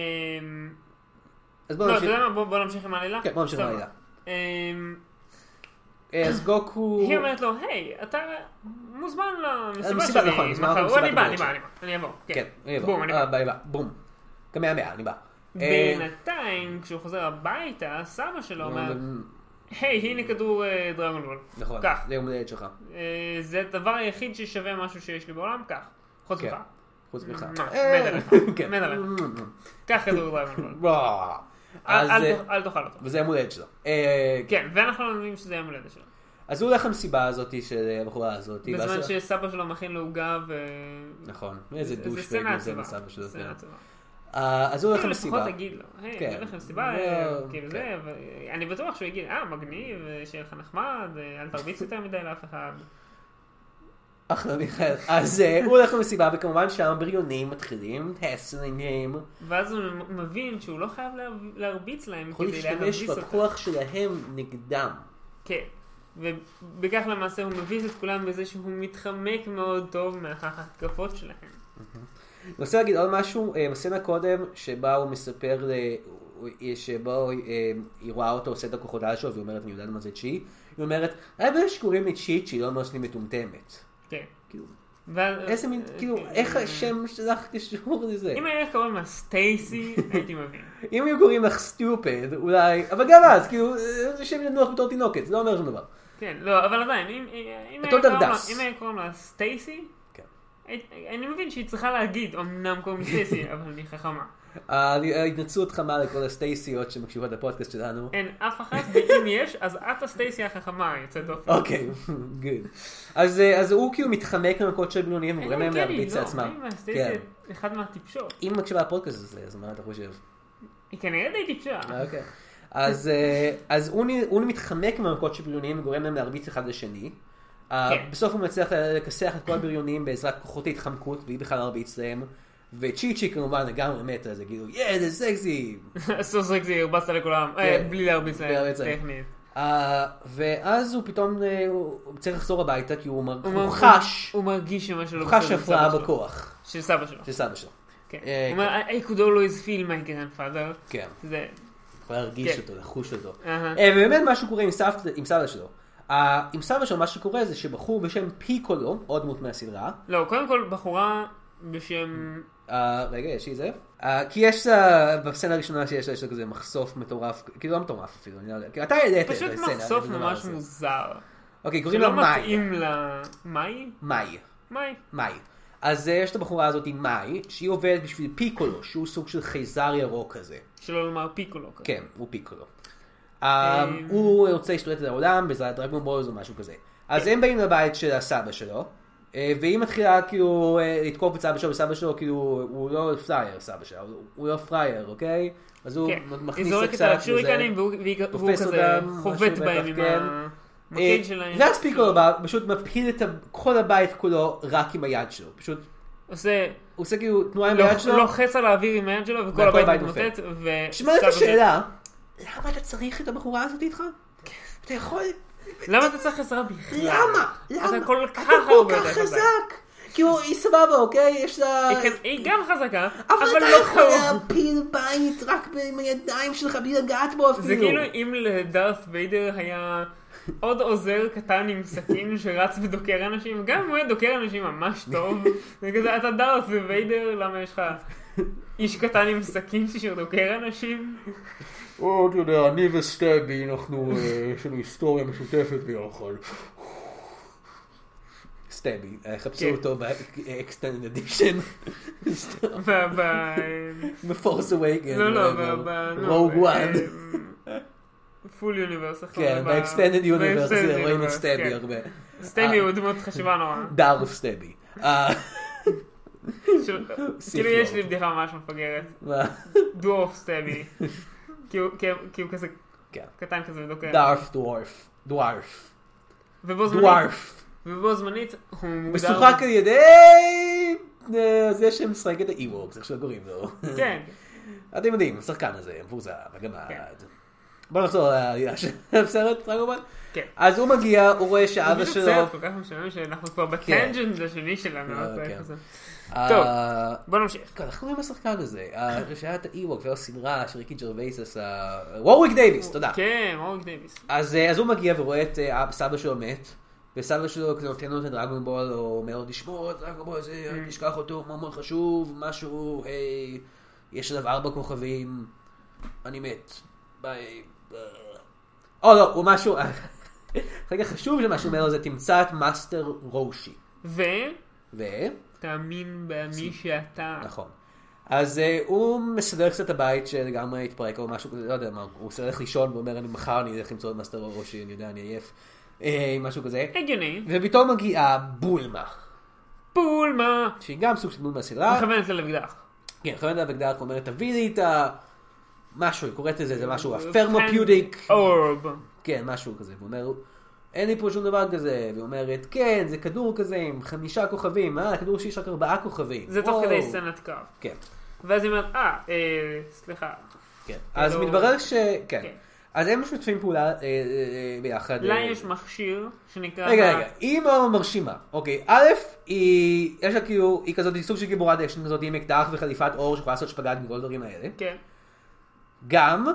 S1: אז בוא
S2: לא, אתה
S1: נמשיך.
S2: יודע מה? בוא- בוא נמשיך עם העלילה.
S1: כן, בוא נמשיך עם
S2: סבבה.
S1: העלילה.
S2: אמ,
S1: אה, אז גוקו...
S2: היא אומרת לו, היי, אתה מוזמן למסיבה
S1: למסיבה,
S2: שלי.
S1: נכון, מוזמן
S2: מחר."
S1: למסיבת
S2: "או, אני בא, אני
S1: הבריאות
S2: בא, אני בא, אני אבוא.
S1: כן, אני בא.
S2: בום, אני בא.
S1: אה, ביי, ביי, בום. גם מהמאה, אני בא. אה,
S2: בינתיים, כשהוא חוזר הביתה, סבא שלו אומר, היי, הנה כדור אה, דרגונבול.
S1: נכון,
S2: קח.
S1: זה יום הולדת שלך.
S2: אה, זה הדבר היחיד ששווה משהו שיש לי בעולם, קח. חוץ
S1: כן.
S2: ממך.
S1: חוץ ממך.
S2: מת
S1: אה,
S2: עליך,
S1: כן.
S2: מת עליך. קח כדור דרגונבול.
S1: וואו. אז, אה,
S2: אל תאכל אותו.
S1: וזה יום הולדת שלו. אה,
S2: כן, ואנחנו לא מבינים שזה יום הולדת שלו.
S1: אז הוא הולך למסיבה הזאת של הבחורה הזאת.
S2: בזמן
S1: ואז-
S2: שסבא שלו מכין לו עוגה ו...
S1: נכון, איזה
S2: זה-
S1: דוש
S2: סצנה
S1: וזה
S2: עצובה.
S1: מסבא שלו.
S2: סצנה
S1: כן.
S2: עצובה.
S1: אה, אז הוא הולך
S2: כאילו, לפחות
S1: למסיבה.
S2: תגיד לו, היי,
S1: כן.
S2: אני הולך למסיבה,
S1: לא,
S2: אה, כאילו
S1: כן.
S2: זה, אבל, אה, אני בטוח שהוא יגיד, אה, מגניב, אה, שיהיה לך נחמד, אה, אל תרביץ יותר מדי לאף אחד.
S1: אחלה מיכאל. אז אה, הוא הולך למסיבה, וכמובן שם בריונים מתחילים, הסלינגים.
S2: ואז הוא מ- מבין שהוא לא חייב להב- להרביץ להם
S1: יכול
S2: כדי להרביץ
S1: להשתמש
S2: אותם.
S1: בכוח שלהם נגדם.
S2: כן. ובכך למעשה הוא מביס את כולם בזה שהוא מתחמק מאוד טוב מההתקפות שלהם.
S1: אני רוצה להגיד עוד משהו, אה, בסצנה קודם, שבה הוא מספר, ל... שבו אה, היא רואה אותו עושה את הכוחות על שלו, והיא אומרת, אני יודעת מה זה צ'י, היא אומרת, היה בעיה שקוראים לי צ'י, צ'י לא ממש לי מטומטמת.
S2: כן.
S1: כאילו,
S2: ואז-
S1: איזה מין,
S2: אה,
S1: כאילו,
S2: כן,
S1: איך
S2: אה,
S1: השם שלך קשור לזה?
S2: אם היה קוראים לה סטייסי, הייתי מבין.
S1: אם היו קוראים לך סטיופד, אולי, אבל גם אז, כאילו, אה, זה שם לנוח בתור תינוקת, זה לא אומר שום דבר.
S2: כן, לא, אבל עדיין, אם- אם היה
S1: אותו
S2: קוראים לה-
S1: דרדס.
S2: אם היה קוראים לה סטייסי,
S1: כן.
S2: אני אני מבין שהיא צריכה להגיד, אמנם קוראים לי סטייסי, אבל אני חכמה.
S1: אה, ההתנצלות חמה לכל הסטייסיות שמקשיבות לפודקאסט שלנו.
S2: אין אף אחת, ואם יש, אז את הסטייסי החכמה, יוצאת דופן.
S1: אוקיי, גוד. אז אה, אז הוא כאילו מתחמק מהמכות של בינוניים,
S2: אין,
S1: וגורם להם
S2: כן, היא
S1: להרביץ
S2: לא,
S1: לעצמם.
S2: אם הסטייסי
S1: כן.
S2: אחד מהטיפשות.
S1: אם מקשיבה לפודקאסט הזה, אז מה אתה חושב?
S2: היא כנראה די טיפשה.
S1: אוקיי. אז, אה, אז אוני, אוני מתחמק מהמכות של בריונים וגורם להם להרביץ אחד לשני. אה,
S2: כן.
S1: בסוף הוא מצליח לכסח את כל הבריונים בעזרת כוחות ההתחמקות, והיא בכלל להרביץ להם. וצ'י צ'י כמובן לגמרי מתה, זה כאילו, יא, זה סקסי.
S2: סוף סוף זה הרבצת לכולם, אה,
S1: אה. כן.
S2: בלי להרביץ
S1: בלי
S2: להם,
S1: להרביץ להם.
S2: טכנית.
S1: אה, ואז הוא פתאום אה, הוא הוא צריך לחזור הביתה, כי הוא, מר...
S2: הוא
S1: הוא
S2: מר-
S1: חש,
S2: הוא מרגיש שמשהו לא
S1: הוא
S2: בסדר.
S1: חש
S2: עם
S1: הפרעה אה,
S2: סבא שלו.
S1: בכוח
S2: של סבא שלו.
S1: של סבא שלו.
S2: כן.
S1: אה,
S2: הוא אומר, I could always feel my grandfather.
S1: כן,
S2: זה...
S1: הוא יכול להרגיש
S2: כן.
S1: אותו, לחוש אותו.
S2: אהה.
S1: אה, ובאמת מה שקורה עם סבתא- עם סבא שלו. אה, עם סבא שלו מה שקורה זה שבחור בשם פיקולו, עוד דמות מהסדרה,
S2: לא, קודם כל, בחורה בשם...
S1: אה, רגע, יש לי זה. אה, כי יש לה, בסצנה הראשונה שיש לה, יש לה כזה מחשוף מטורף, כאילו לא מטורף אפילו, אני לא יודע, כאילו אתה העלית את
S2: פשוט
S1: הסצנה.
S2: מחשוף
S1: אני לא
S2: ממש
S1: יודע.
S2: מוזר.
S1: אוקיי, קוראים לה
S2: שלא
S1: מאי.
S2: מתאים ל... מאי?
S1: מאי.
S2: מאי.
S1: מאי. אז אה, יש את הבחורה הזאת, מאי, שהיא עובדת בשביל פיקולו, שהוא סוג של חייזר ירוק כזה.
S2: שלא לומר פיקולו. כזה.
S1: כן, הוא פיקולו. אה,
S2: אמ,
S1: הוא רוצה להשתלט על העולם בעזרת דרגון בולז או משהו כזה.
S2: כן.
S1: אז הם באים לבית של הסבא שלו, אה, והיא מתחילה כאילו אה, לתקוף את סבא שלו, וסבא שלו כאילו, הוא לא פלייר סבא שלה, הוא- הוא לא פלייר, אוקיי? אז הוא
S2: כן. היא
S1: מכניס את
S2: זורקת
S1: קצת
S2: על השוריקנים והוא והיא- והוא
S1: תופס
S2: כזה
S1: אותם, משהו
S2: חובט
S1: בטח,
S2: בהם עם
S1: כן.
S2: המקל שלהם.
S1: ואז פיקולו בא, פשוט מפחיד את ה- כל הבית כולו רק עם היד שלו. פשוט,
S2: עושה
S1: הוא עושה כאילו תנועה עם היד
S2: לוח-
S1: שלו.
S2: לוחץ על האוויר עם היד שלו וכל
S1: והכל הבית
S2: הבית
S1: נופל.
S2: מתמוטט. ו-
S1: שמע את
S2: סבא של-
S1: השאלה, למה אתה צריך את הבחורה הזאת איתך? אתה יכול
S2: למה אתה צריך עזרה בכלל?
S1: למה? למה?
S2: אתה כל כך
S1: אתה כל
S2: הרבה
S1: כך
S2: יותר חזק.
S1: חזק. כאילו, היא סבבה, אוקיי? יש לה...
S2: היא כן- היא גם חזקה,
S1: אבל
S2: אבל
S1: אתה
S2: לא
S1: יכול
S2: קרוב.
S1: להפיל בית רק עם הידיים שלך בלי לגעת בו אפילו.
S2: זה כאילו אם לדארת ויידר היה עוד עוזר קטן עם סכין שרץ ודוקר אנשים, גם אם הוא היה דוקר אנשים ממש טוב, זה כזה, אתה דארת וויידר, למה יש לך איש קטן עם סכין שדוקר אנשים.
S1: או, אתה יודע, אני וסטבי, אנחנו, אה, יש לנו היסטוריה משותפת ביחד. סטבי, אה, חפשו
S2: כן.
S1: אותו באקסטנד אדישן.
S2: ב- ב-
S1: בפורס אווייקן.
S2: לא, לא, ב... ב- לא,
S1: רוג
S2: ב-
S1: וואן.
S2: אה, פול יוניברס. איך
S1: כן,
S2: קוראים לה?
S1: באקסטנד יוניברס,
S2: ב-Extended
S1: רואים את
S2: Universe,
S1: סטבי
S2: כן.
S1: הרבה.
S2: סטבי
S1: אה.
S2: הוא דמות חשובה נורא.
S1: דארף סטבי. אה,
S2: של-
S1: סיף
S2: כאילו יש
S1: לו.
S2: לי בדיחה ממש מפגרת.
S1: מה?
S2: דואוף סטבי. כי הוא- כי הוא- כי הוא כזה
S1: כן.
S2: קטן כזה ודוקר.
S1: דארף דוארף. דוארף.
S2: ובו זמנית-
S1: דוארף.
S2: ובו זמנית הוא לא, מוגדר...
S1: משוחק על ידי... אה, זה שמשחק את האי-וורקס, איך שלא קוראים לו.
S2: כן.
S1: אתם יודעים, השחקן הזה, מבוזר,
S2: כן.
S1: הגמד. בוא נחזור לעלילה של הסרט, דרגומן.
S2: כן.
S1: אז הוא מגיע, הוא רואה שאבא
S2: פשוט
S1: שלו... כן.
S2: סרט כל כך משעמם שאנחנו כבר בטנג'נט השני שלנו.
S1: אה,
S2: אז
S1: כן.
S2: זה-
S1: אה,
S2: טוב. בוא נמשיך.
S1: כן, אנחנו עם השחקן הזה, אה, שהיה את האי-וורק והיו סדרה של ריקי ג'רווייס עשה... וורוויק דייוויס, תודה.
S2: כן, אורג דייווס.
S1: אז אה, אז הוא מגיע ורואה את אה, אבא- סבא שלו מת, וסבא שלו כזה נותן לו את הדרגון בול, או אומר לו, תשמור את הדרגון בול הזה, אל תשכח אותו, הוא מאוד מאוד חשוב, משהו, היי, יש עליו ארבע כוכבים, אני מת, ביי. אה. או לא, הוא משהו, רגע חשוב שמה שהוא אומר לו זה תמצא את מאסטר רושי. ו...
S2: ותאמין במי שאתה.
S1: נכון. אז אה, הוא מסדר קצת את הבית שלגמרי התפרק או משהו כזה, לא יודע מה, הוא צריך ללכת לישון ואומר, אני מחר אני אלך למצוא את מאסטר ראשי, אני יודע, אני עייף, אה, משהו כזה.
S2: הגיוני.
S1: ופתאום מגיעה בולמה,
S2: פולמה.
S1: שהיא גם סוג של דמות מהסדרה.
S2: מכוונת אל אקדח.
S1: כן, חייבת אבקדרק אומרת, תביא לי את ה... משהו, היא קוראת לזה, זה משהו,
S2: אה, פן-
S1: הפרמופיודיק,
S2: אורב.
S1: כן, משהו כזה. והוא אומר, אין לי פה שום דבר כזה. והיא אומרת, כן, זה כדור כזה עם חמישה כוכבים, אה, כדור שיש רק ארבעה כוכבים.
S2: זה תוך
S1: וואו.
S2: כדי סצנת קרב.
S1: כן.
S2: ואז היא אומרת, אה, אה, סליחה.
S1: כן. אז
S2: לא-
S1: מתברר ש... כן.
S2: כן.
S1: אז הם משתפים פעולה אה, אה, אה, ביחד.
S2: לה
S1: אה,
S2: יש מכשיר שנקרא...
S1: רגע, רגע, היא מאוד מרשימה. אוקיי, א', היא, יש לה כאילו, היא כזאת, היא סוג של גיבורת אשן כזאת, עם אקדח וחליפת עור שיכולה לעשות שפגאט מכל הדברים האלה.
S2: כן.
S1: גם,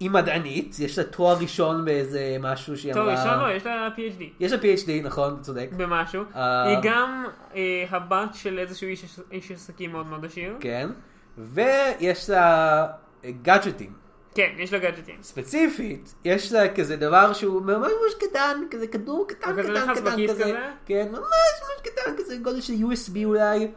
S1: היא מדענית, יש לה תואר ראשון באיזה משהו שהיא
S2: טוב,
S1: אמרה...
S2: אישה לא, יש לה PhD.
S1: יש לה PhD, נכון, אתה צודק.
S2: במשהו.
S1: אה.
S2: היא גם אה, הבת של איזשהו איש- איש עסקים מאוד מאוד עשיר.
S1: כן. ויש לה אה, גאדג'טים.
S2: כן, יש לה גאדג'טים.
S1: ספציפית, יש לה כזה דבר שהוא ממש ממש קטן, כזה כדור קטן
S2: הוא כזה
S1: קטן
S2: נכנס
S1: קטן
S2: בכיס
S1: כזה,
S2: אוקיי, כזה?
S1: כן, ממש ממש קטן כזה, גודל של USB אולי,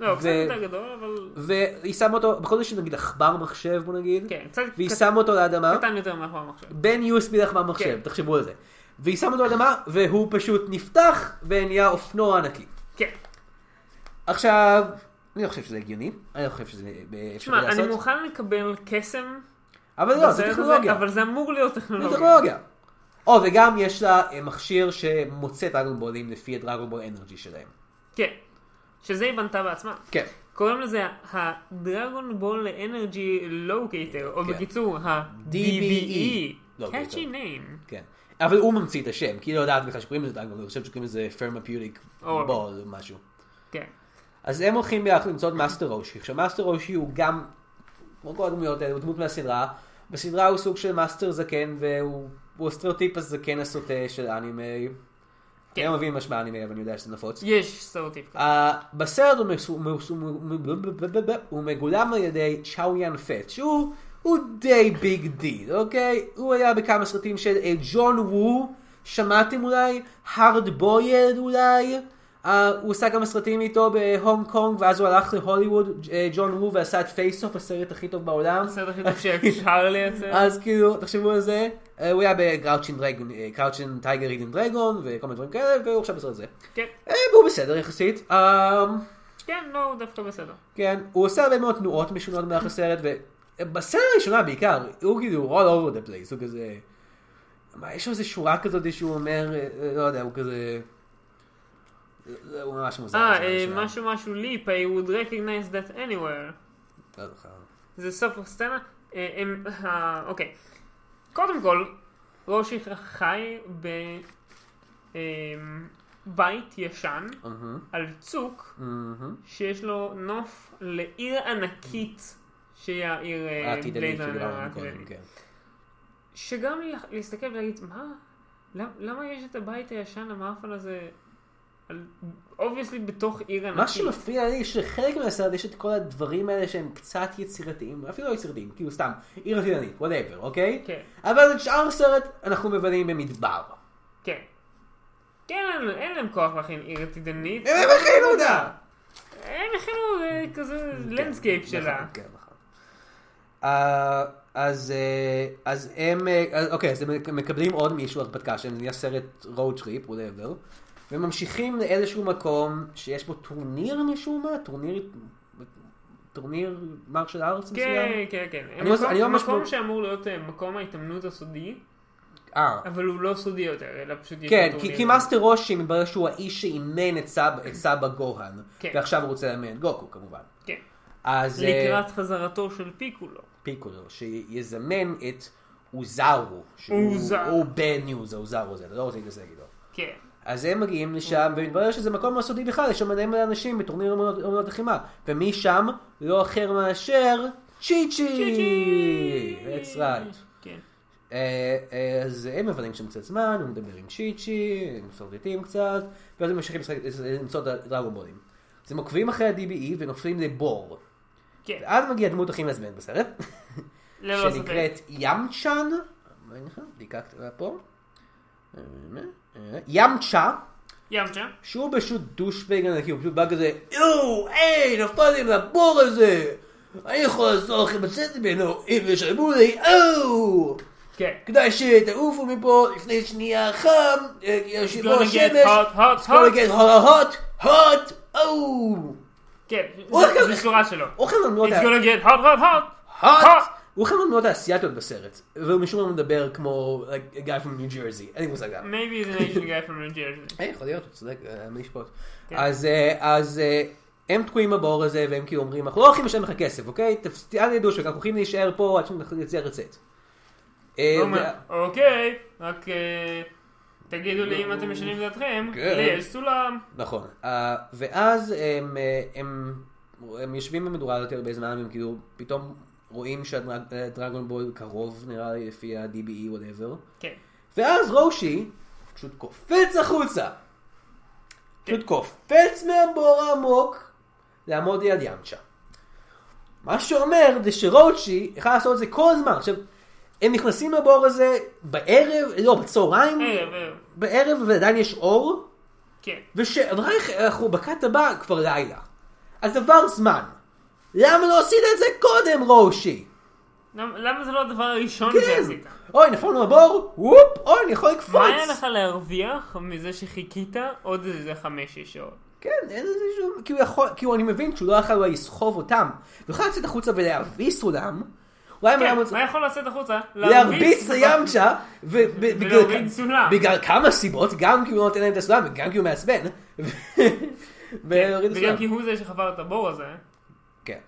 S2: לא, קצת
S1: ו-
S2: יותר גדול, אבל...
S1: והיא שמה אותו, בכל זאת נגיד עכבר מחשב בוא נגיד,
S2: כן, קצת
S1: והיא
S2: קט-
S1: שמה אותו לאדמה,
S2: קטן יותר מאחור המחשב.
S1: בין USB לעכבר מחשב,
S2: כן.
S1: תחשבו על זה, והיא שמה אותו לאדמה, והוא פשוט נפתח ונהיה אופנוע ענקי.
S2: כן.
S1: עכשיו, אני לא חושב שזה הגיוני, אני לא חושב שזה אה, אפשרי
S2: תשמע, אני
S1: לעשות,
S2: מוכן לקבל קסם.
S1: אבל לא, זה
S2: בסרט הזה,
S1: טכנולוגיה.
S2: אבל זה אמור להיות
S1: זה
S2: טכנולוגיה.
S1: טכנולוגיה. או, וגם יש לה אה, מכשיר שמוצא דרגונבולים לפי הדרגונבול אנרג'י שלהם.
S2: כן. שזה היא בנתה בעצמה.
S1: כן.
S2: קוראים לזה הדרגון בול אנרגי לוקייטר, או
S1: כן.
S2: בקיצור E.
S1: DBE.
S2: ה-DBE.
S1: Locator.
S2: קאצ'י ניים.
S1: כן. אבל הוא ממציא את השם, כי היא לא יודעת בכלל שקוראים לזה דרגונבול, אני חושב שקוראים לזה פרמפיוטיק
S2: או.
S1: בול או משהו.
S2: כן.
S1: אז הם הולכים ביחד למצוא את מאסטר רושי. עכשיו, מאסטר רושי הוא גם, כמו כל הדמויות האלה, הוא דמות מהסדרה. בסדרה הוא סוג של מאסטר זקן, והוא הוא הסטריאוטיפ הזקן הסוטה של אנימה.
S2: כן.
S1: אני לא מבין משמע אנימה, אבל אני יודע שזה נפוץ.
S2: יש סטריאוטיפ. כזה.
S1: אה, בסרט הוא מסו- מסו- מ- הוא מגולם על ידי צ'אויאן פט, שהוא הוא די ביג דיל, אוקיי? הוא היה בכמה סרטים של אה, ג'ון וו, שמעתם אולי? הארד בוילד אולי? אה, הוא עשה כמה סרטים איתו בהונג קונג, ואז הוא הלך להוליווד, אה, ג'ון וו, ועשה את פייס אוף, הסרט הכי טוב בעולם.
S2: הסרט הכי טוב שאפשר לייצר.
S1: אז כאילו, תחשבו על זה, אה, הוא היה אה, בקראוצ'ין טייגר הידן דרגון, וכל מיני דברים כאלה, והוא עכשיו בסרט הזה.
S2: כן.
S1: אה, והוא בסדר יחסית. אה,
S2: כן, לא, הוא דווקא בסדר.
S1: כן, הוא עושה הרבה מאוד תנועות משונות במהלך הסרט, ובסרט הראשונה בעיקר, הוא כאילו all over the place, הוא כזה... מה, יש לו איזה שורה כזאת שהוא אומר, אה, לא יודע, הוא כזה... זה- הוא ממש מוזר.
S2: אה,
S1: בסרט
S2: אה,
S1: הראשון.
S2: משהו משהו ליפ, I would recognize that anywhere.
S1: לא זוכר.
S2: זה סוף הסצנה. אה, הם, ה- אוקיי. קודם כל, רושי חי בבית ישן
S1: אהה,
S2: על צוק
S1: אהה.
S2: שיש לו נוף לעיר ענקית שהיא העיר אה,
S1: העתידנית
S2: בלייד ראנר
S1: שדיברנו קודם,
S2: העתידנית.
S1: כן.
S2: שגם לה- להסתכל ולהגיד, מה? למ- למה יש את הבית הישן המאפן הזה אובייסלי בתוך עיר ענקית.
S1: מה שמפריע לי שחלק מהסרט יש את כל הדברים האלה שהם קצת יצירתיים, אפילו לא יצירתיים, כאילו סתם, עיר עתידנית, וואטאבר, אוקיי?
S2: כן.
S1: אבל את שאר הסרט אנחנו מבלים במדבר.
S2: כן. כן, אין- אין להם כוח להכין עיר עתידנית.
S1: הם הכינו אותה!
S2: הם הכינו אה, כזה לנדסקייפ
S1: כן,
S2: שלה.
S1: נכון, כן, נכון. אה, אז אה, אז הם, אה, אז- אוקיי, אז הם מקבלים עוד מישהו הרפתקה שלהם, זה נהיה סרט road trip, whatever, וממשיכים לאיזשהו מקום שיש בו טורניר משום מה, טורניר, טורניר מרשל ארץ
S2: כן,
S1: מסוים?
S2: כן, כן.
S1: אני לא- אני לא
S2: מקום-
S1: ממש
S2: מקום
S1: מ-
S2: שאמור להיות אה, מקום ההתאמנות הסודי,
S1: אה,
S2: אבל הוא לא סודי יותר, אלא פשוט יש
S1: כן,
S2: לו
S1: כי-
S2: טורניר. לא.
S1: כי מאסטר רושי מתברר שהוא האיש שאימן את סבא- את סבא גוהן,
S2: כן.
S1: ועכשיו הוא רוצה לאמן את גוקו כמובן.
S2: כן.
S1: אז... אה,
S2: לקראת חזרתו של פיקולו.
S1: פיקולו, שיזמן את אוזרו,
S2: אוזרו.
S1: שהוא בן ניוז, האוזרו זה, אתה לא רוצה להתעסק איתו.
S2: כן.
S1: אז הם מגיעים לשם, ומתברר שזה מקום לא סודי בכלל, יש שם מלא מלא אנשים בטורניר אומנות- אומנות לחימה. ומי שם? לא אחר מאשר צ'י צ'י! That's right.
S2: כן.
S1: אה, אה, אז הם מבלים שם קצת זמן, הוא מדבר עם צ'יצ'י, הם שורדתים קצת, ואז הם ממשיכים לשחק- למצוא את הדרגובולים. אז הם עוקבים אחרי ה-DBE ונופלים לבור.
S2: כן.
S1: ואז מגיעה הדמות הכי מעצבנת בסרט.
S2: ללא לא ספק.
S1: שנקראת ימצ'ן, מה נקרא? לא בדיקה קטנה פה, ימצ'ה,
S2: ימצ'ה.
S1: שהוא פשוט דושבג ענקי, הוא פשוט בא כזה, יואו, היי, נפלתי לבור הזה, אני יכול לעזור לכם לצאת ממנו, אם ישלמו לי, אוו,
S2: כן.
S1: כדאי שתעופו מפה לפני שנייה חם, אה, יש
S2: It's
S1: פה
S2: gonna get
S1: שמש,
S2: hot, hot,
S1: It's
S2: hot.
S1: gonna get hot, hot, hot, אוו,
S2: כן.
S1: אוי,
S2: זה-
S1: כן.
S2: זה שורה שלו.
S1: אוכל לנו
S2: It's gonna get hot hot hot.
S1: hot!
S2: hot.
S1: הוא אחד מהדמויות האסייתיות בסרט, והוא משום מה מדבר כמו like, a guy from New Jersey, אין לי מושג למה.
S2: Maybe it's an Asian guy from New Jersey.
S1: אה, יכול להיות, הוא צודק, אה, מי ישפוט. אז, אה, אז אה, הם תקועים בבור הזה, והם כאילו אומרים, אנחנו לא הולכים לשלם לך כסף, אוקיי? תפס- אל תדעו שאנחנו הולכים להישאר פה עד שנצליח לצאת. אה,
S2: הוא לא אומר,
S1: וה-
S2: אוקיי, רק אה, תגידו לי אם אתם משנים את דעתכם,
S1: כן.
S2: לי יש סולם.
S1: נכון. אה, ואז הם, אה, הם, הם יושבים במדורה הזאת הרבה זמן, הם כאילו פתאום רואים שהדרגון בול קרוב, נראה לי, לפי ה-DBE, whatever.
S2: כן.
S1: ואז רושי פשוט קופץ החוצה. פשוט קופץ מהבור העמוק לעמוד ליד ימצ'ה. מה שאומר זה שרושי יכל לעשות את זה כל הזמן. עכשיו, הם נכנסים לבור הזה בערב, לא, בצהריים,
S2: ערב, ערב.
S1: בערב ועדיין יש
S2: אה,
S1: אור,
S2: כן.
S1: ושאנחנו בקאט הבא כבר לילה. אז עבר זמן. למה לא עשית את זה קודם, רושי?
S2: למ- למה זה לא הדבר הראשון
S1: כן.
S2: שעשית?
S1: אוי, נפלנו לבור, וופ, אוי, אני יכול לקפוץ.
S2: מה היה לך להרוויח מזה שחיכית עוד איזה חמש-שש שעות?
S1: כן, אין לזה שום... כי הוא יכול... כי הוא, אני מבין שהוא לא יכול אולי לסחוב אותם. הוא יכול לצאת החוצה ולהביס אותם. הוא היה
S2: כן,
S1: מלמד...
S2: מה יכול לעשות החוצה?
S1: להרביץ לימצ'ה,
S2: ולהוריד סולם.
S1: ובגלל כמה סיבות, גם כי הוא לא נותן להם את הסולם, וגם כי הוא מעצבן. ו- ולהוריד את
S2: וגם כי
S1: הסולם.
S2: הוא זה שחבר את הבור הזה.
S1: כן.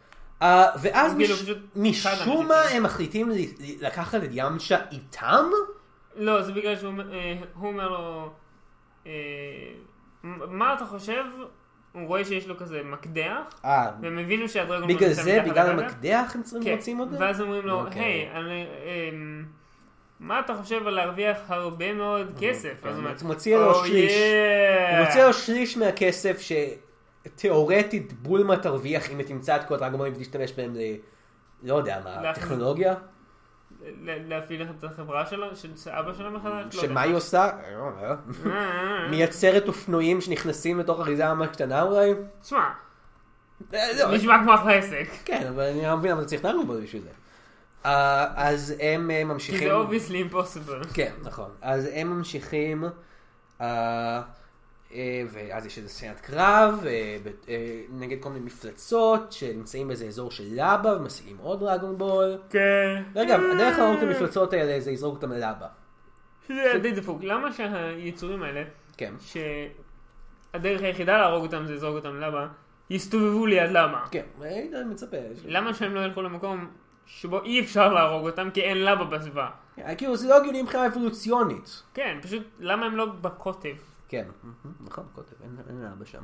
S1: אה, ואז
S2: כאילו,
S1: מש-
S2: פשוט כן. אחד
S1: משום
S2: אנשים.
S1: מה הם מחליטים ל- ל- לקחת את ימצ'ה איתם?
S2: לא, זה בגלל שהוא אומר- אה, הוא אומר לו, אה, מ- מה אתה חושב? הוא רואה שיש לו כזה מקדח,
S1: אה,
S2: והם הבינו שהדרגון בול
S1: בגלל
S2: נמצא
S1: זה,
S2: מתחת
S1: בגלל
S2: לקרקע.
S1: המקדח הם צריכים
S2: כן,
S1: רוצים אותם?
S2: ואז אומרים לו,
S1: אוקיי.
S2: היי, אני- אמ, מה אתה חושב על להרוויח הרבה מאוד כסף?
S1: כן,
S2: אז הוא אומר,
S1: הוא מוציא לו
S2: "Oh,
S1: שליש.
S2: yeah."
S1: הוא רוצה לו שליש מהכסף שתאורטית בולמה תרוויח אם היא תמצא את כל הדרגמונים ותשתמש בהם ל... לא יודע מה,
S2: להכניס. לא
S1: טכנולוגיה?
S2: ל- להפעיל את החברה שלו, של אבא שלו מחדש? לא יודע.
S1: שמה היא עושה? אני לא יודע.
S2: אה,
S1: מייצרת אופנועים שנכנסים לתוך אריזה ממש קטנה אולי?
S2: תשמע,
S1: אה, לא,
S2: נשמע כמו אחלה עסק.
S1: כן, אבל אני לא מבין למה צריך דרגמון בשביל זה. אה, אז הם אה,
S2: כי
S1: ממשיכים...
S2: זה obviously impossible.
S1: כן, נכון. אז הם ממשיכים, אה, אה, ואז יש איזה סצנת קרב אה, ב- אה, נגד כל מיני מפלצות שנמצאים באיזה אזור של לבה ומשיגים עוד דרגון בול.
S2: כן.
S1: ואגב, הדרך להרוג את
S2: אה.
S1: המפלצות האלה זה לזרוק אותם ללבה.
S2: זה די דפוק. למה שהיצורים האלה,
S1: כן.
S2: שהדרך היחידה להרוג אותם זה לזרוק אותם לבה, יסתובבו ליד למה?
S1: כן, היית מצפה. ש-
S2: למה שהם לא ילכו למקום שבו אי אפשר להרוג אותם כי אין לבה בסביבה?
S1: כן, כאילו זה לא הגיוני מבחינה אבולוציונית.
S2: כן, פשוט למה הם לא בקוטב?
S1: כן, נכון, קוטב, אין אין אבא שם.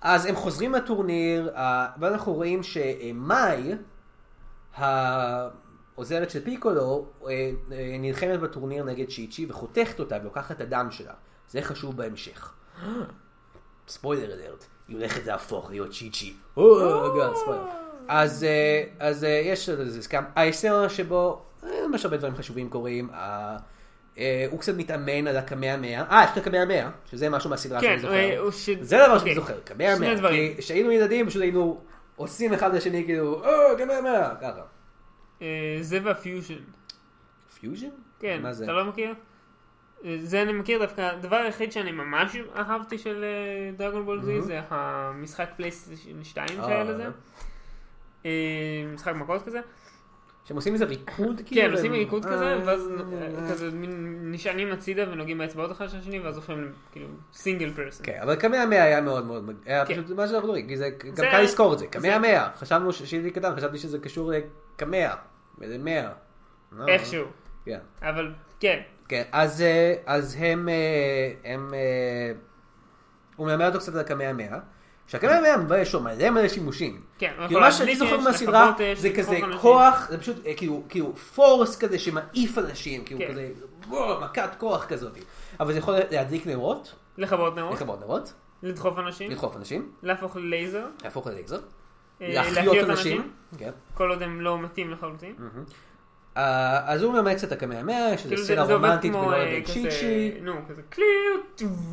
S1: אז הם חוזרים לטורניר, אה, ואז אנחנו רואים שמאי, העוזרת של פיקולו, אה, אה, נלחמת בטורניר נגד צ'יצ'י וחותכת אותה ולוקחת את הדם שלה. זה חשוב בהמשך. ספוילר אלרט, היא הולכת להפוך להיות צ'יצ'י. או, רגע, ספוילר. אז, אה, אז אה, יש לזה סכם. הסצנה שבו, אה, ממש הרבה דברים חשובים קורים. אה, אה, הוא קצת מתאמן על הקמי המאה. אה, יש את הקמי המאה, שזה משהו מהסדרה
S2: כן,
S1: שאני זוכר.
S2: אה, הוא ש...
S1: זה דבר שאני
S2: אוקיי.
S1: זוכר, קמי המאה.
S2: שני דברים.
S1: כי כשהיינו ילדים פשוט היינו עושים אחד לשני כאילו, או, קמי המאה, ככה.
S2: אה, זה והפיוז'ן.
S1: פיוז'ן?
S2: כן,
S1: מה זה?
S2: אתה לא מכיר? אה, זה אני מכיר דווקא, הדבר היחיד שאני ממש אהבתי של אה, דרגון בול זי זה המשחק פלייסטיישן 2 שהיה
S1: אה.
S2: לזה. אה, משחק מכות כזה.
S1: שהם עושים איזה ריקוד כאילו?
S2: כן, עושים ריקוד
S1: אה,
S2: כזה, ואז
S1: אה,
S2: כזה מין נשענים הצידה ונוגעים באצבעות אחד של השני, ואז הופכים כאילו סינגל פרסון.
S1: כן, אבל קמי המאה היה מאוד מאוד, מג- היה
S2: כן.
S1: פשוט מה שאנחנו מדברים, כי זה, גם
S2: זה-
S1: קל לזכור את זה, קמי
S2: זה-
S1: המאה, חשבנו, ש- כשהייתי קטן, חשבתי שזה קשור אה, לקמיה, וזה מאה. לא,
S2: איכשהו.
S1: כן,
S2: אבל כן,
S1: כן, אז, אה, אז הם, אה, הם, אה, הוא מלמד אותו קצת על הקמי המאה, שהקמי המאה יש לו מלא מלא שימושים.
S2: כן, הוא
S1: כאילו
S2: יכול
S1: מה שאני
S2: להדליק
S1: זוכר
S2: אש,
S1: מהסדרה,
S2: לכבות אש,
S1: זה
S2: אה, לדחוף
S1: כזה
S2: אנשים.
S1: כוח, זה פשוט אה, כאילו- כאילו פורס כזה שמעיף אנשים, כאילו
S2: כן.
S1: כזה, וואו, מכת כוח כזאת. אבל זה יכול להדליק נרות,
S2: לכבות נרות,
S1: לכבות נרות,
S2: לדחוף אנשים,
S1: לדחוף אנשים.
S2: להפוך ללייזר,
S1: להפוך ללייזר.
S2: אה,
S1: להחיות אנשים. Mm. כן.
S2: כל עוד הם לא מתים לחלוטין.
S1: אה, אז הוא ממלא קצת את הקמי המאה, שזה
S2: כאילו זה-
S1: סצנה
S2: זה עובד
S1: רומנטית
S2: כמו,
S1: בינו
S2: אה,
S1: לבין
S2: כזה-
S1: צ'יצ'י.
S2: נו, כזה קליר,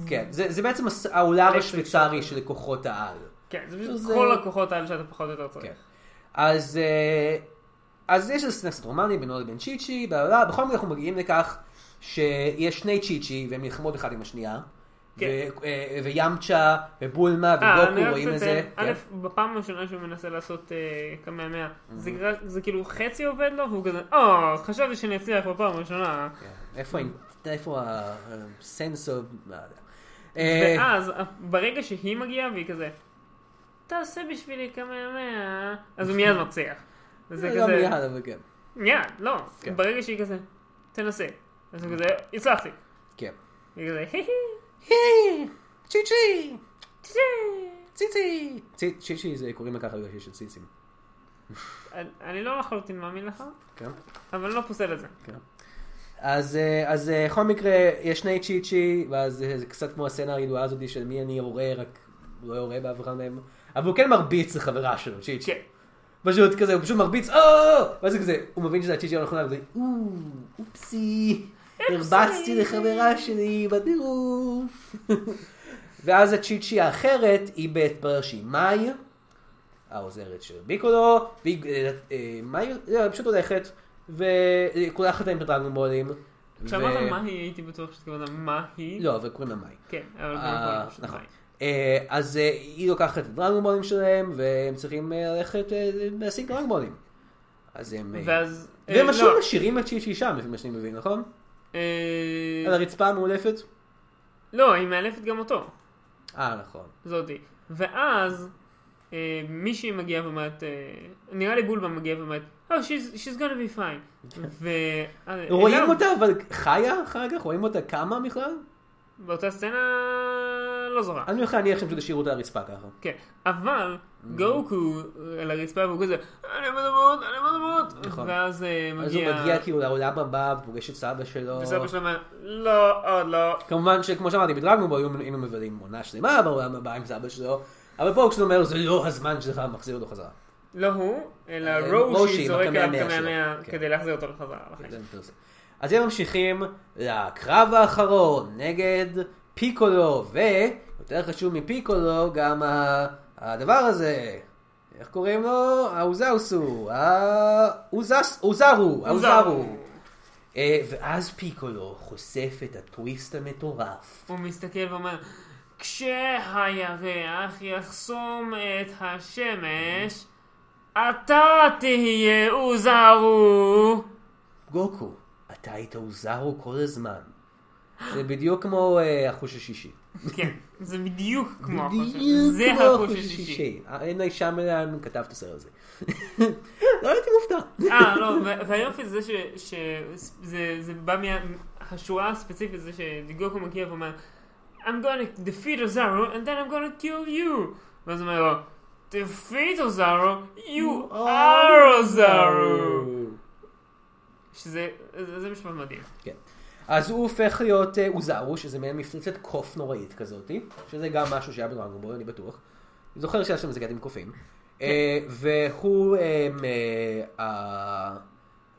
S1: כן, זה זה בעצם הס- האולר
S2: אלקטריק
S1: השוויצרי של כוחות העל.
S2: כן, זה פשוט
S1: זה-
S2: כל הכוחות האלה שאתה פחות או יותר
S1: כן.
S2: צריך.
S1: אז אה, אז יש איזה סצנה קצת רומנטית בינו לבין צ'יצ'י, בלה, בלה, בלה. בכל מקרה אנחנו מגיעים לכך שיש שני צ'יצ'י והם נלחמות אחד עם השנייה.
S2: כן.
S1: ו- אה, ויאמצ'ה
S2: אה,
S1: ובולמה וגוקו
S2: אני רק
S1: רואים את
S2: לציין,
S1: זה.
S2: א',
S1: כן.
S2: בפעם הראשונה שהוא מנסה לעשות אה, כמה מאה, זה גר- זה כאילו חצי עובד לו, והוא כזה, או, חשבתי שאני אצליח בפעם הראשונה.
S1: כן. איפה ה- איפה ה-sense of... לא יודע. אה,
S2: ואז, אה, ברגע שהיא מגיעה, והיא כזה, תעשה בשבילי כמה מאה, אז הוא מיד מצליח. וזה
S1: לא
S2: כזה,
S1: מיד, אבל כן.
S2: מיד, לא,
S1: כן.
S2: ברגע שהיא כזה, תנסה. אז הוא כזה, הצלחתי.
S1: כן.
S2: היא כזה, "היי,
S1: היי, צ'יצ'י,
S2: היי, היי."
S1: ציצי. צי- צ'יצ'י זה קוראים לככה בגלל שיש ציצים.
S2: אני- אני לא לחלוטין מאמין לך,
S1: כן,
S2: אבל אני לא פוסל את זה.
S1: כן. אז אה, אז, אה, בכל מקרה, יש שני צ'יצ'י, ואז אה, זה קצת כמו הסצנה הידועה הזאת של מי אני יורה, רק הוא לא יורה באף אחד מהם. אבל הוא כן מרביץ לחברה שלו, צ'יצ'י.
S2: כן.
S1: פשוט כזה, הוא פשוט מרביץ, "אה!" ואז זה כזה, הוא מבין שזה הצ'יצ'י הנכונה, וזה, "או, אופסי, הרבצתי לחברה שלי בטירוף. ואז הצ'יצ'י האחרת, היא בהתברר שהיא מאי, העוזרת של ביקולו, והיא, אה, אה, מאי, לא, היא פשוט הולכת, וכולה אחת עם דרגונבולים.
S2: כשאמרת מה היא, הייתי בטוח שתכוונת מה היא.
S1: לא, אבל קוראים לה מאי.
S2: כן, אבל קודם כל
S1: אה,
S2: היא פשוט
S1: נכון.
S2: מאי.
S1: אה, אז אה, היא לוקחת את דרגונבולים שלהם, והם צריכים אה, ללכת אה, להשיג דרגונבולים. אז הם... אה,
S2: ואז... אה,
S1: והם
S2: לא.
S1: משהו משאירים את צ'יצ'י שם, לפי מה שאני מבין, נכון?
S2: אה,
S1: על הרצפה המאולפת?
S2: לא, היא מאלפת גם אותו,
S1: אה, נכון.
S2: זאתי. ואז אה, מישהי מגיעה ואומרת, אה, נראה לי בולבה מגיעה ואומרת, Oh, she's, she's gonna be fine. ו... אה,
S1: כן. רואים
S2: אליו,
S1: אותה, אבל חיה אחר כך? רואים אותה קמה בכלל?
S2: באותה סצנה לא זורה.
S1: אני הולך להניח שהם פשוט השאירו אותה על הרצפה ככה.
S2: כן, אבל
S1: אה.
S2: גוקו אה, על הרצפה והוא כזה, אני עומד למות, אני עומד למות.
S1: נכון.
S2: ואז אה,
S1: אז הוא
S2: מגיע...
S1: מגיע כאילו לעולם הבא, פוגש את סבא שלו.
S2: וסבא שלו אומר, לא, עוד לא.
S1: כמובן שכמו שאמרתי, בדרגנבול היו- היינו מבלים עונה שלמה בעולם הבא עם סבא שלו, אבל פה כשאתה אומר, זה לא הזמן שלך, מחזיר אותו חזרה.
S2: לא הוא, אלא
S1: אה, רושי,
S2: רושי זורק עליו
S1: בקמע המאה
S2: קמ"ע
S1: שלו.
S2: כדי להחזיר אותו לחזרה לחיים.
S1: זה מטורף. אז הם ממשיכים לקרב האחרון נגד פיקולו, ויותר חשוב מפיקולו גם ה- הדבר הזה, איך קוראים לו? האוזאוסו, האוזס- אוזרו, האוזרו. אה, ואז פיקולו חושף את הטוויסט המטורף.
S2: הוא מסתכל ואומר, כשהירח יחסום את השמש, אתה תהיה אוזרו.
S1: גוקו, אתה היית אוזרו כל הזמן. זה בדיוק כמו אה, החוש השישי.
S2: כן, זה בדיוק כמו החוש
S1: בדיוק
S2: זה
S1: כמו
S2: החוש
S1: החוש
S2: השישי.
S1: השישי. אין אי שם אלא כתב את הסרט הזה. לא הייתי מופתע.
S2: אה, לא, ו- והיופי זה ש... ש- זה- זה בא מהשורה הספציפית, זה שדיגוקו מגיע ואומר, I'm gonna defeat Ozaru and then I'm gonna kill you. ואז הוא אומר לו, defeat Ozaru, you are Ozaru. שזה זה- זה משפט מדהים.
S1: כן. אז הוא הופך להיות אה, אוזרו, שזה מעין מפלצת קוף נוראית כזאתי, שזה גם משהו שהיה בדרגונבול, אני בטוח. אני זוכר שהיה שם איזה קטע עם קופים. אה, והוא, אה, אה, אה,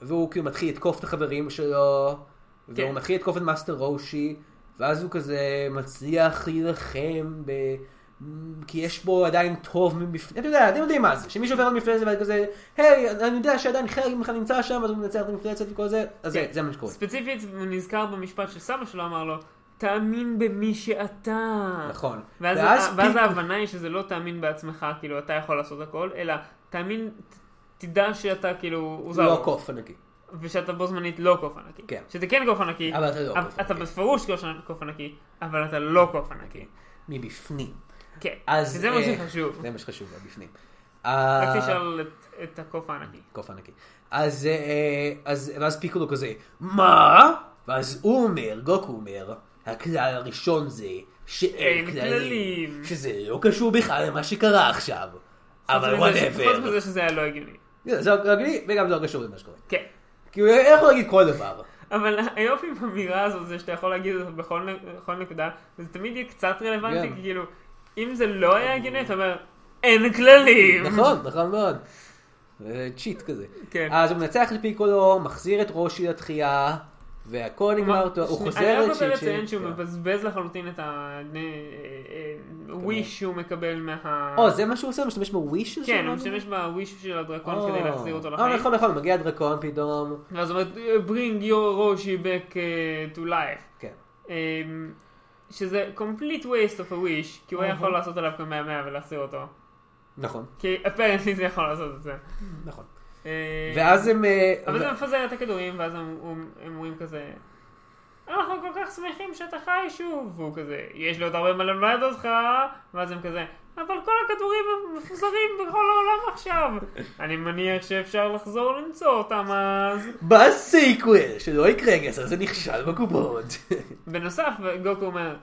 S1: והוא כאילו מתחיל לתקוף את החברים שלו, והוא
S2: כן.
S1: מתחיל לתקוף את מאסטר רושי, ואז הוא כזה מצליח להילחם ב... כי יש בו עדיין טוב ממפלצת, אתה יודע, אתם יודעים מה זה, שמישהו עובר על מפלצת ואתה כזה, היי, אני יודע שעדיין חלק ממך נמצא שם, אז הוא מנצח את המפלצת וכל זה, אז זה,
S2: כן.
S1: זה מה שקורה.
S2: ספציפית, הוא נזכר במשפט שסבא שלו אמר לו, תאמין במי שאתה.
S1: נכון.
S2: ואז,
S1: ואז
S2: ואז, ואז
S1: פתאום-
S2: ההבנה היא שזה לא תאמין בעצמך, כאילו, אתה יכול לעשות הכל, אלא תאמין, ת- תדע שאתה כאילו, הוא זר.
S1: לא קוף ענקי.
S2: ושאתה בו זמנית לא קוף ענקי.
S1: כן.
S2: שאתה כן קוף ענקי.
S1: אבל אתה לא
S2: אבל-
S1: קוף ענקי.
S2: אתה בפירוש קוף ענ- קוף ענקי, אבל אתה לא קוף ענקי.
S1: מבפנים.
S2: כן.
S1: אז...
S2: וזה מה
S1: אה,
S2: שחשוב.
S1: זה מה שחשוב, מבפנים.
S2: רק תשאל את- את הקוף הענקי.
S1: קוף ענקי. אז, אה, אז, ואז פיקולו כזה, מה? ואז הוא אומר, גוקו אומר, הכלל הראשון זה שאין
S2: אין
S1: כללים.
S2: כללים."
S1: שזה לא קשור בכלל למה שקרה עכשיו. אבל
S2: חוץ מזה- חוץ
S1: וואטאבר.
S2: מזה שזה היה לא הגיוני.
S1: זה לא רגלי, וגם זה לא קשור למה שקורה.
S2: כן.
S1: כאילו, אין יכול להגיד כל דבר.
S2: אבל היופי באמירה הזאת זה שאתה יכול להגיד אותה בכל נ- בכל נקודה, וזה תמיד יהיה קצת רלוונטי,
S1: כן.
S2: כי כאילו, אם זה לא היה הגיוני, אתה אומר, אין כללים!
S1: נכון, נכון מאוד. זה צ'יט כזה.
S2: כאילו. כן.
S1: אז הוא מנצח את פיקולו, מחזיר את רושי לתחייה, והכל נגמר, טוב, הוא
S2: שני-
S1: חוזר
S2: אני רק
S1: לצ'יט
S2: רוצה
S1: של...
S2: לציין שהוא
S1: כן.
S2: מבזבז לחלוטין את הוויש שהוא מקבל מה...
S1: או, זה מה שהוא עושה? הוא משתמש בוויש לא?
S2: כן, הוא משתמש בוויש של הדרקון כדי להחזיר אותו
S1: אה,
S2: לחיים.
S1: נכון, נכון, מגיע דרקון פתאום.
S2: ואז הוא אומר, bring your Roshi back uh, to life.
S1: כן.
S2: אמ, שזה complete waste of a wish, כי הוא היה יכול לעשות עליו גם 100 ולהחזיר אותו.
S1: נכון,
S2: כי apparently זה יכול לעשות את זה.
S1: נכון.
S2: אה,
S1: ואז הם... אה,
S2: אבל זה
S1: ו-
S2: מפזר את הכדורים, ואז הם הם- הם אומרים כזה... אנחנו כל כך שמחים שאתה חי שוב, והוא כזה, יש לי עוד הרבה מה ללמד אותך, ואז הם כזה, אבל כל הכדורים הם מפוזרים בכל העולם עכשיו. אני מניח שאפשר לחזור למצוא אותם אז.
S1: בסיקוול, שלא יקרה גסר, זה נכשל בקופות.
S2: בנוסף, גוקו אומר, רק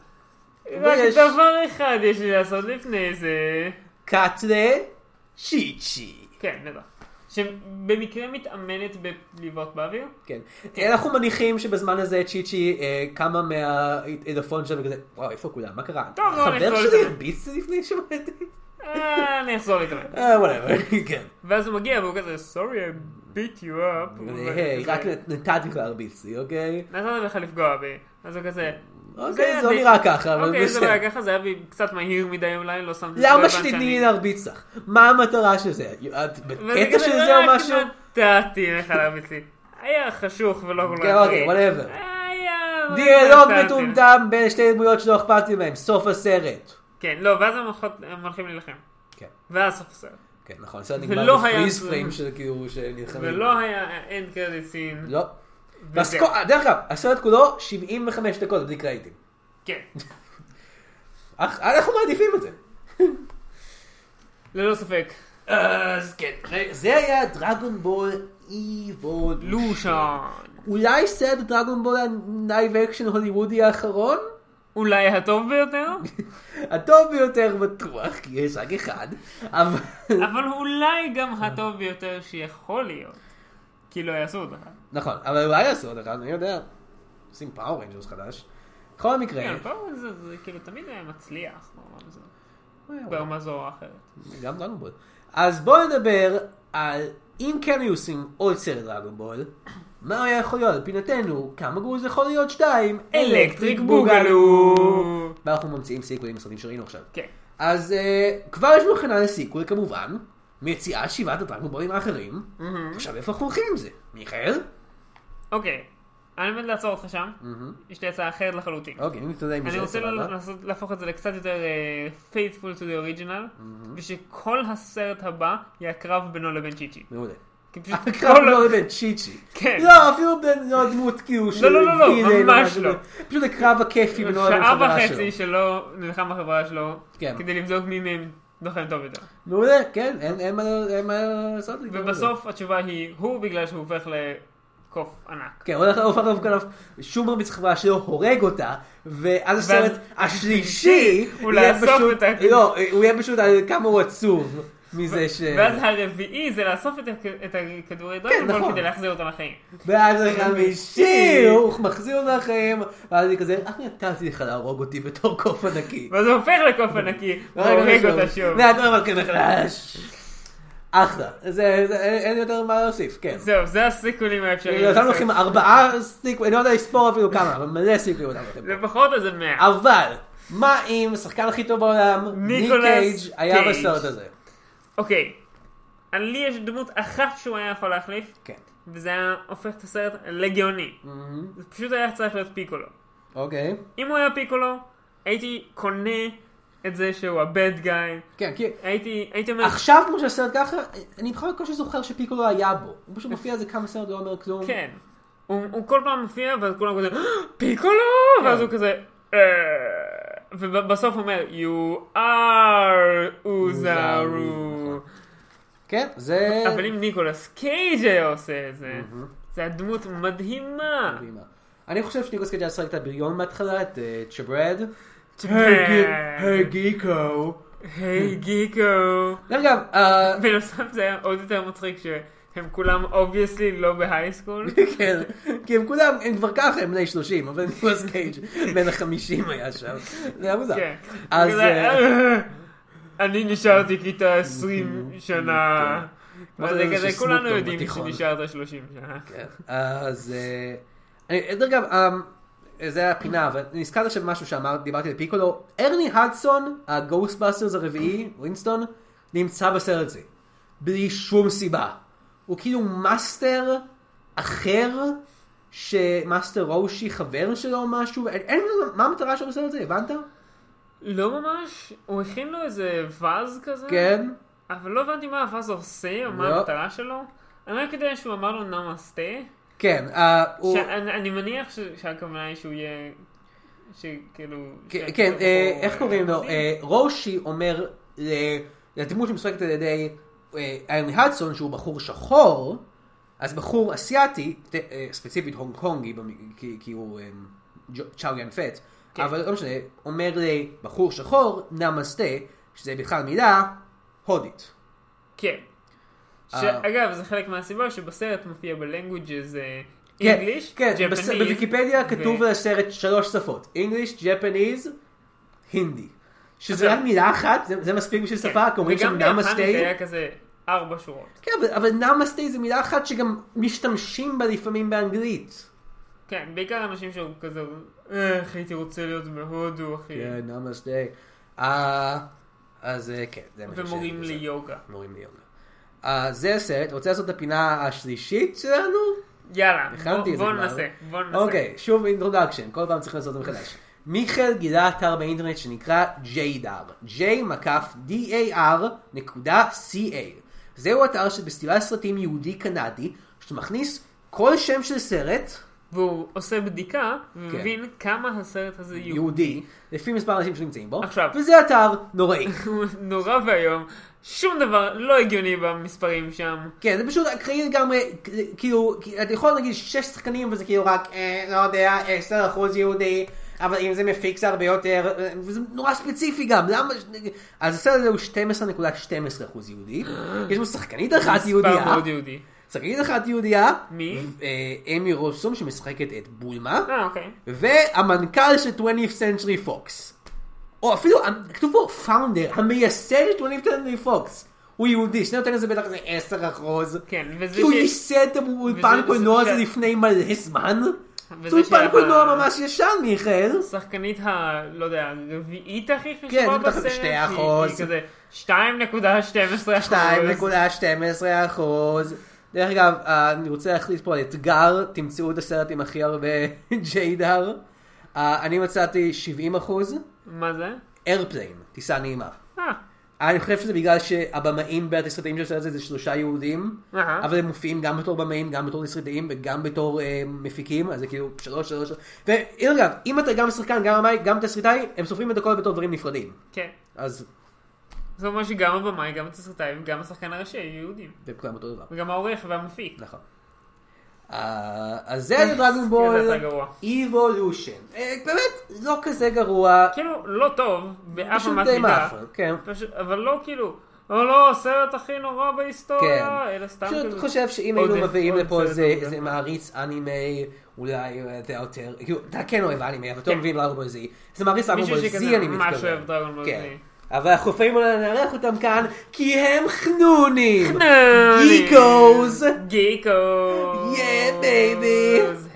S1: ויש-
S2: דבר אחד יש לי לעשות לפני זה.
S1: קאטלה, צ'יצ'י.
S2: כן, נדע. שבמקרה מתאמנת בפליבות באוויר.
S1: כן. אנחנו מניחים שבזמן הזה צ'יצ'י אה, קמה מהעדפון שלו וכזה, וואו, איפה כולם? מה קרה?
S2: טוב, לא, אני
S1: חבר
S2: אחזור
S1: שלי
S2: לזה.
S1: הרביץ לפני שבאתי?
S2: אה, אני אחזור להתאמן.
S1: אה, וואטאבר, כן.
S2: ואז הוא מגיע והוא כזה, סורי, I beat you up.
S1: אה, היי, רק נתתי לך להרביץ לי, אוקיי?
S2: נתתי לך לפגוע בי. אז הוא כזה...
S1: אוקיי,
S2: די-
S1: זה לא נראה ככה, אבל
S2: אוקיי, זה לא
S1: בסדר.
S2: היה ככה, זה היה בי קצת מהיר מדי אולי, לא שמתי... לא
S1: למה
S2: הבנתי
S1: שתתני
S2: שאני-
S1: לי להרביץ לך? מה המטרה של זה? את
S2: וזה
S1: בקטע
S2: כזה, לא,
S1: של זה או
S2: רק לא
S1: משהו?
S2: נתתי לך להרביץ לי. היה חשוך ולא כל כך...
S1: כן, אוקיי, whatever. לא,
S2: היה... אבל לא
S1: דיאלוג
S2: נתתי.
S1: מטומטם בין שתי דמויות שלא אכפת לי מהם, סוף הסרט.
S2: כן, לא, ואז הם הולכות- הם הולכים להילחם.
S1: כן,
S2: ואז סוף הסרט.
S1: כן, נכון, הסרט
S2: ולא
S1: נגמר
S2: לא היה- לא-
S1: בפריז פריים של כאילו שנלחמים.
S2: ולא היה אין קרדיט סין.
S1: לא.
S2: וזהו.
S1: והסקו- דרך אגב, הסרט כולו 75 דקות בלי קרדיטים.
S2: כן.
S1: אך- אנחנו מעדיפים את זה.
S2: ללא ספק.
S1: אז כן, זה- זה היה דרגון בול איבולושן.
S2: לושן.
S1: אולי סרט דרגון בול הלייב אקשן הוליוודי האחרון?
S2: אולי הטוב ביותר,
S1: הטוב ביותר בטוח, כי יש רק אחד, אבל...
S2: אבל אולי גם הטוב ביותר שיכול להיות. כי לא יעשו עוד אחד.
S1: נכון, אבל אולי יעשו עוד אחד, אני יודע. עושים פאור רנג'רס חדש. בכל מקרה,
S2: כן, פעם זה- זה כאילו תמיד היה מצליח. ברמה זו-
S1: וואו,
S2: ברמה זו או אחרת.
S1: גם דרגון בול. אז בואו נדבר על אם כן היו עושים עוד סרט דרגון בול, מה היה יכול להיות? פינתנו, כמה גרוע זה יכול להיות? שתיים,
S2: אלקטריק בוגלו!
S1: ואנחנו ממציאים סיקוולים לסרטים שראינו עכשיו.
S2: כן.
S1: אז אה, כבר יש לנו הכנה לסיקוול כמובן, מציאת שבעת הדרגון בולים האחרים. עכשיו איפה אנחנו הולכים עם זה? מיכאל?
S2: אוקיי. אני באמת לעצור אותך שם. יש לי הצעה אחרת לחלוטין.
S1: Mm-hmm. אוקיי, אם אתה יודע אם
S2: אני
S1: זה
S2: רוצה לא-
S1: סבבה.
S2: ל- לעשות- להפוך את זה לקצת יותר אה, faithful to the original, ושכל הסרט הבא יהיה הקרב בינו לבין צ'יצ'י.
S1: מעולה.
S2: כי פשוט
S1: הקרב
S2: כל-
S1: לא בין צ'יצ'י.
S2: כן.
S1: לא, אפילו בין לא דמות כאילו של
S2: לא, לא, לא,
S1: וילן או
S2: ממש
S1: משהו.
S2: לא.
S1: פשוט הקרב הכיפי בין אוהב
S2: כאילו, שעה
S1: לחברה שלו.
S2: וחצי שלו נלחם בחברה שלו,
S1: כן.
S2: כדי לבדוק מי מהם לוחם טוב יותר.
S1: מעולה, כן, אין- אין מה- אין מה לעשות. לי. כן,
S2: ובסוף התשובה היא, הוא בגלל שהוא הופך לקוף ענק.
S1: כן, הולך לעוף עליו כנף, שום מרביץ חברה שלו הורג אותה, ואז הסרט השלישי
S2: הוא
S1: יהיה
S2: לאסוף
S1: פשוט-
S2: את ה-
S1: לא, הוא יהיה פשוט על כמה הוא עצוב. מזה ש...
S2: ואז הרביעי זה לאסוף את הכ- את הכדורי דרגנבול
S1: נכון.
S2: כדי להחזיר אותם לחיים.
S1: ואז החמישי, הוא מחזיר אותו לחיים, ואז היא כזה, איך נתתי לך להרוג אותי בתור קוף ענקי?
S2: ואז הוא הופך לקוף ענקי,
S1: לא,
S2: והורג אותה שוב.
S1: והכל מלכה מחדש. אחלה, זה, זה- אין אין יותר מה להוסיף, כן.
S2: זהו, זה הסיקוולים האפשריים.
S1: אותם לוקחים ארבעה סיקווים, אני לא יודע לספור אפילו כמה, אבל מלא סיקווים אותם לוקחים.
S2: לפחות איזה מאה.
S1: אבל, מה אם השחקן הכי טוב בעולם, ניק
S2: ניקולס
S1: קייג' היה
S2: קייג'.
S1: בסרט הזה?
S2: אוקיי, על לי יש דמות אחת שהוא היה יכול להחליף,
S1: כן.
S2: וזה היה הופך את הסרט לגאוני.
S1: מהמם.
S2: זה פשוט היה צריך להיות פיקולו.
S1: Mm-hmm. אוקיי.
S2: אם הוא היה פיקולו, הייתי קונה את זה שהוא הבד גאי.
S1: כן, כי
S2: הייתי, הייתי אומר,
S1: עכשיו כמו שהסרט ככה, אני בכלל בקושי זוכר שפיקולו היה בו. הוא פשוט מופיע איזה כמה סרט, לא אומר כלום.
S2: כן. הוא, הוא כל פעם מופיע, ואז כולם כזה, "אה, פיקולו! ואז הוא כזה, "אה", ובסוף הוא אומר, you are אוזרו.
S1: כן, זה...
S2: אבל אם ניקולס קייג' היה עושה את זה, זו הייתה דמות מדהימה.
S1: מדהימה. אני חושב שניקולס קייג' היה שחק את הבריון בהתחלה, את אה, צ'ברד.
S2: אה. כן.
S1: גיקו.
S2: היי גיקו.
S1: דרך אגב, אה,
S2: בנוסף זה היה עוד יותר מצחיק שהם כולם אובייסלי לא בהייסקול.
S1: כן, כי הם כולם, הם כבר ככה, הם בני 30, אבל ניקולס קייג' בין ה-50 היה שם. זה היה מוזר.
S2: כן.
S1: אז,
S2: כזה,
S1: אה,
S2: אני נשארתי כיתה 20 שנה.
S1: כמו
S2: וזה
S1: כן. זה
S2: כזה,
S1: שסנופ
S2: כולנו
S1: דוג
S2: יודעים
S1: בתיכון.
S2: שנשארת 30 שנה.
S1: כן, אז... אה, אני- דרך אגב, אה, זה היה הפינה, אבל נזכרת עכשיו משהו שאמרתי, דיברתי על פיקולו. ארני הדסון, הגוסטבאסטרס הרביעי, ווינסטון, נמצא בסרט הזה. בלי שום סיבה. הוא כאילו מאסטר אחר, שמאסטר רושי חבר שלו או משהו, אין- אין מה המטרה של הסרט הזה, הבנת?
S2: לא ממש, הוא הכין לו איזה ואז כזה.
S1: כן.
S2: אבל לא הבנתי מה הוואז עושה, או מה
S1: לא.
S2: המטרה שלו. אני רק יודע שהוא אמר לו נמאסטה.
S1: כן, אה, הוא...
S2: שאני אני מניח ש- שהכוונה היא שהוא יהיה... שכאילו...
S1: כן,
S2: שהבחור-
S1: כן, אה, איך קוראים לו? אה, רושי אומר ל- לדמות שמשחקת על ידי אה, איירני הדסון, שהוא בחור שחור, אז בחור אסיאתי, ת- אה, ספציפית הונג קונגי, במ- כי- כי הוא אה, ג'ו- צ'או יאן פט,
S2: כן.
S1: אבל לא משנה, אומר לבחור שחור, נמסטה, שזה בכלל מילה הודית.
S2: כן.
S1: אה.
S2: שאגב, זה חלק מהסיבה שבסרט מופיע ב-languages אה,
S1: כן,
S2: English,
S1: כן,
S2: Japanese,
S1: בס- בוויקיפדיה
S2: ו- כן.
S1: כתוב על הסרט שלוש שפות, English, Japanese, הינדי. שזה
S2: עכשיו- כן.
S1: רק מילה אחת, זה- זה מספיק בשביל שפה, כי אומרים שם
S2: וגם ביפנית
S1: נמסטה.
S2: היה כזה ארבע שורות.
S1: כן, אבל, אבל נמאסטי זו מילה אחת שגם משתמשים בה לפעמים באנגלית.
S2: כן, בעיקר אנשים שהיו כזה, איך הייתי רוצה להיות בהודו, אחי.
S1: כן, נמאסטי. אז אה, כן, זה מה שיש לי
S2: ומורים
S1: לזה.
S2: ליוגה.
S1: מורים ליוגה. אה, זה הסרט, רוצה לעשות את הפינה השלישית שלנו?
S2: יאללה,
S1: הכנתי את זה
S2: בוא
S1: כבר.
S2: ננסה, בוא ננסה.
S1: אוקיי, שוב אינטרודקשן, כל פעם צריך לעשות את זה מחדש. מיכאל גילה אתר באינטרנט שנקרא JDAR, j-dar.ca. זהו אתר שבסטירת סרטים יהודי-קנדי, שמכניס כל שם של סרט,
S2: והוא עושה בדיקה, ומבין
S1: כן.
S2: כמה הסרט הזה יהודי.
S1: יהודי, לפי מספר האנשים שנמצאים בו,
S2: עכשיו.
S1: וזה אתר נוראי.
S2: הוא נורא ואיום, שום דבר לא הגיוני במספרים שם.
S1: כן, זה פשוט אקראי לגמרי, כ- כאילו, כי אתה יכול להגיד שש שחקנים וזה כאילו רק, אה, לא יודע, עשר אחוז יהודי, אבל אם זה מפיק זה הרבה יותר, אה, וזה נורא ספציפי גם, למה... ש- אז הסרט הזה הוא 12.12 אחוז יהודי, יש בו שחקנית אחת
S2: מספר
S1: יהודייה,
S2: מאוד יהודי.
S1: שחקנית אחת יהודייה,
S2: מי?
S1: אה, אמי רוסום שמשחקת את בולמה,
S2: אה, אוקיי.
S1: והמנכ"ל של 20th Century Fox. או אפילו, כתוב פה פאונדר, המייסד של 20th Century Fox. הוא יהודי, שני נותן לזה בטח איזה 10 אחוז.
S2: כן, וזה
S1: כי הוא
S2: ש-
S1: ייסד את האולפן
S2: וזה-
S1: קולנוע
S2: וזה-
S1: הזה לפני מלא זמן.
S2: וזה
S1: זה אולפן
S2: שה-
S1: קולנוע ממש ישן, מיכאל.
S2: השחקנית ה... לא יודע, הרביעית הכי חשובה
S1: כן, זה מתחת
S2: בסרט,
S1: לשתי
S2: היא-
S1: אחוז.
S2: היא כזה 2.12 אחוז.
S1: 2.12 אחוז. דרך אגב, אה, אני רוצה להחליט פה על אתגר, תמצאו את הסרט עם הכי הרבה ג'יידר. אה, אני מצאתי 70 אחוז,
S2: מה זה?
S1: איירפליין, טיסה נעימה.
S2: אה,
S1: אני חושב שזה בגלל שהבמאים בתסריטאים של הסרט הזה זה שלושה יהודים,
S2: אהה.
S1: אבל הם מופיעים גם בתור במאים, גם בתור תסריטאים וגם בתור אה, מפיקים, אז זה כאילו שלוש, שלוש, שלוש. ואם אגב, אם אתה גם שחקן, גם במאי, גם תסריטאי, הם סופרים את הכל בתור דברים נפרדים.
S2: כן.
S1: אז
S2: זה אומר שגם הבמאי, גם התסריטאי וגם השחקן הראשי היו יהודים.
S1: זה כולם אותו דבר.
S2: וגם העורך והמפיק.
S1: נכון. אה, אז זה היה דרגון בול
S2: זה יצא גרוע.
S1: איבולושן. אה, באמת, לא כזה גרוע.
S2: כאילו, לא טוב, באף
S1: פשוט
S2: אמת
S1: די
S2: מידה.
S1: מאפר. כן.
S2: פשוט, אבל לא כאילו, או לא, הסרט הכי נורא בהיסטוריה,
S1: כן.
S2: אלא סתם
S1: פשוט
S2: כזה. אוקיי,
S1: חושב שאם
S2: עוד
S1: היינו
S2: איזה-
S1: מביאים
S2: עוד
S1: לפה
S2: סרט,
S1: איזה
S2: עוד
S1: איזה
S2: גם.
S1: מעריץ אנימה, אולי אה, אתה יותר, כאילו, אתה כן אוהב אנימה, אבל אתה לא מבין דרגון בול זי. זה מעריץ דרגון
S2: מישהו
S1: בול
S2: שכזה
S1: זי, אני
S2: ממש
S1: מתכוון.
S2: אוהב דרגון בול
S1: כן.
S2: זי.
S1: אבל אנחנו יכולים אולי לארח אותם כאן, כי הם חנונים.
S2: חנונים.
S1: גיקוז.
S2: גיקוז.
S1: Yeah, baby.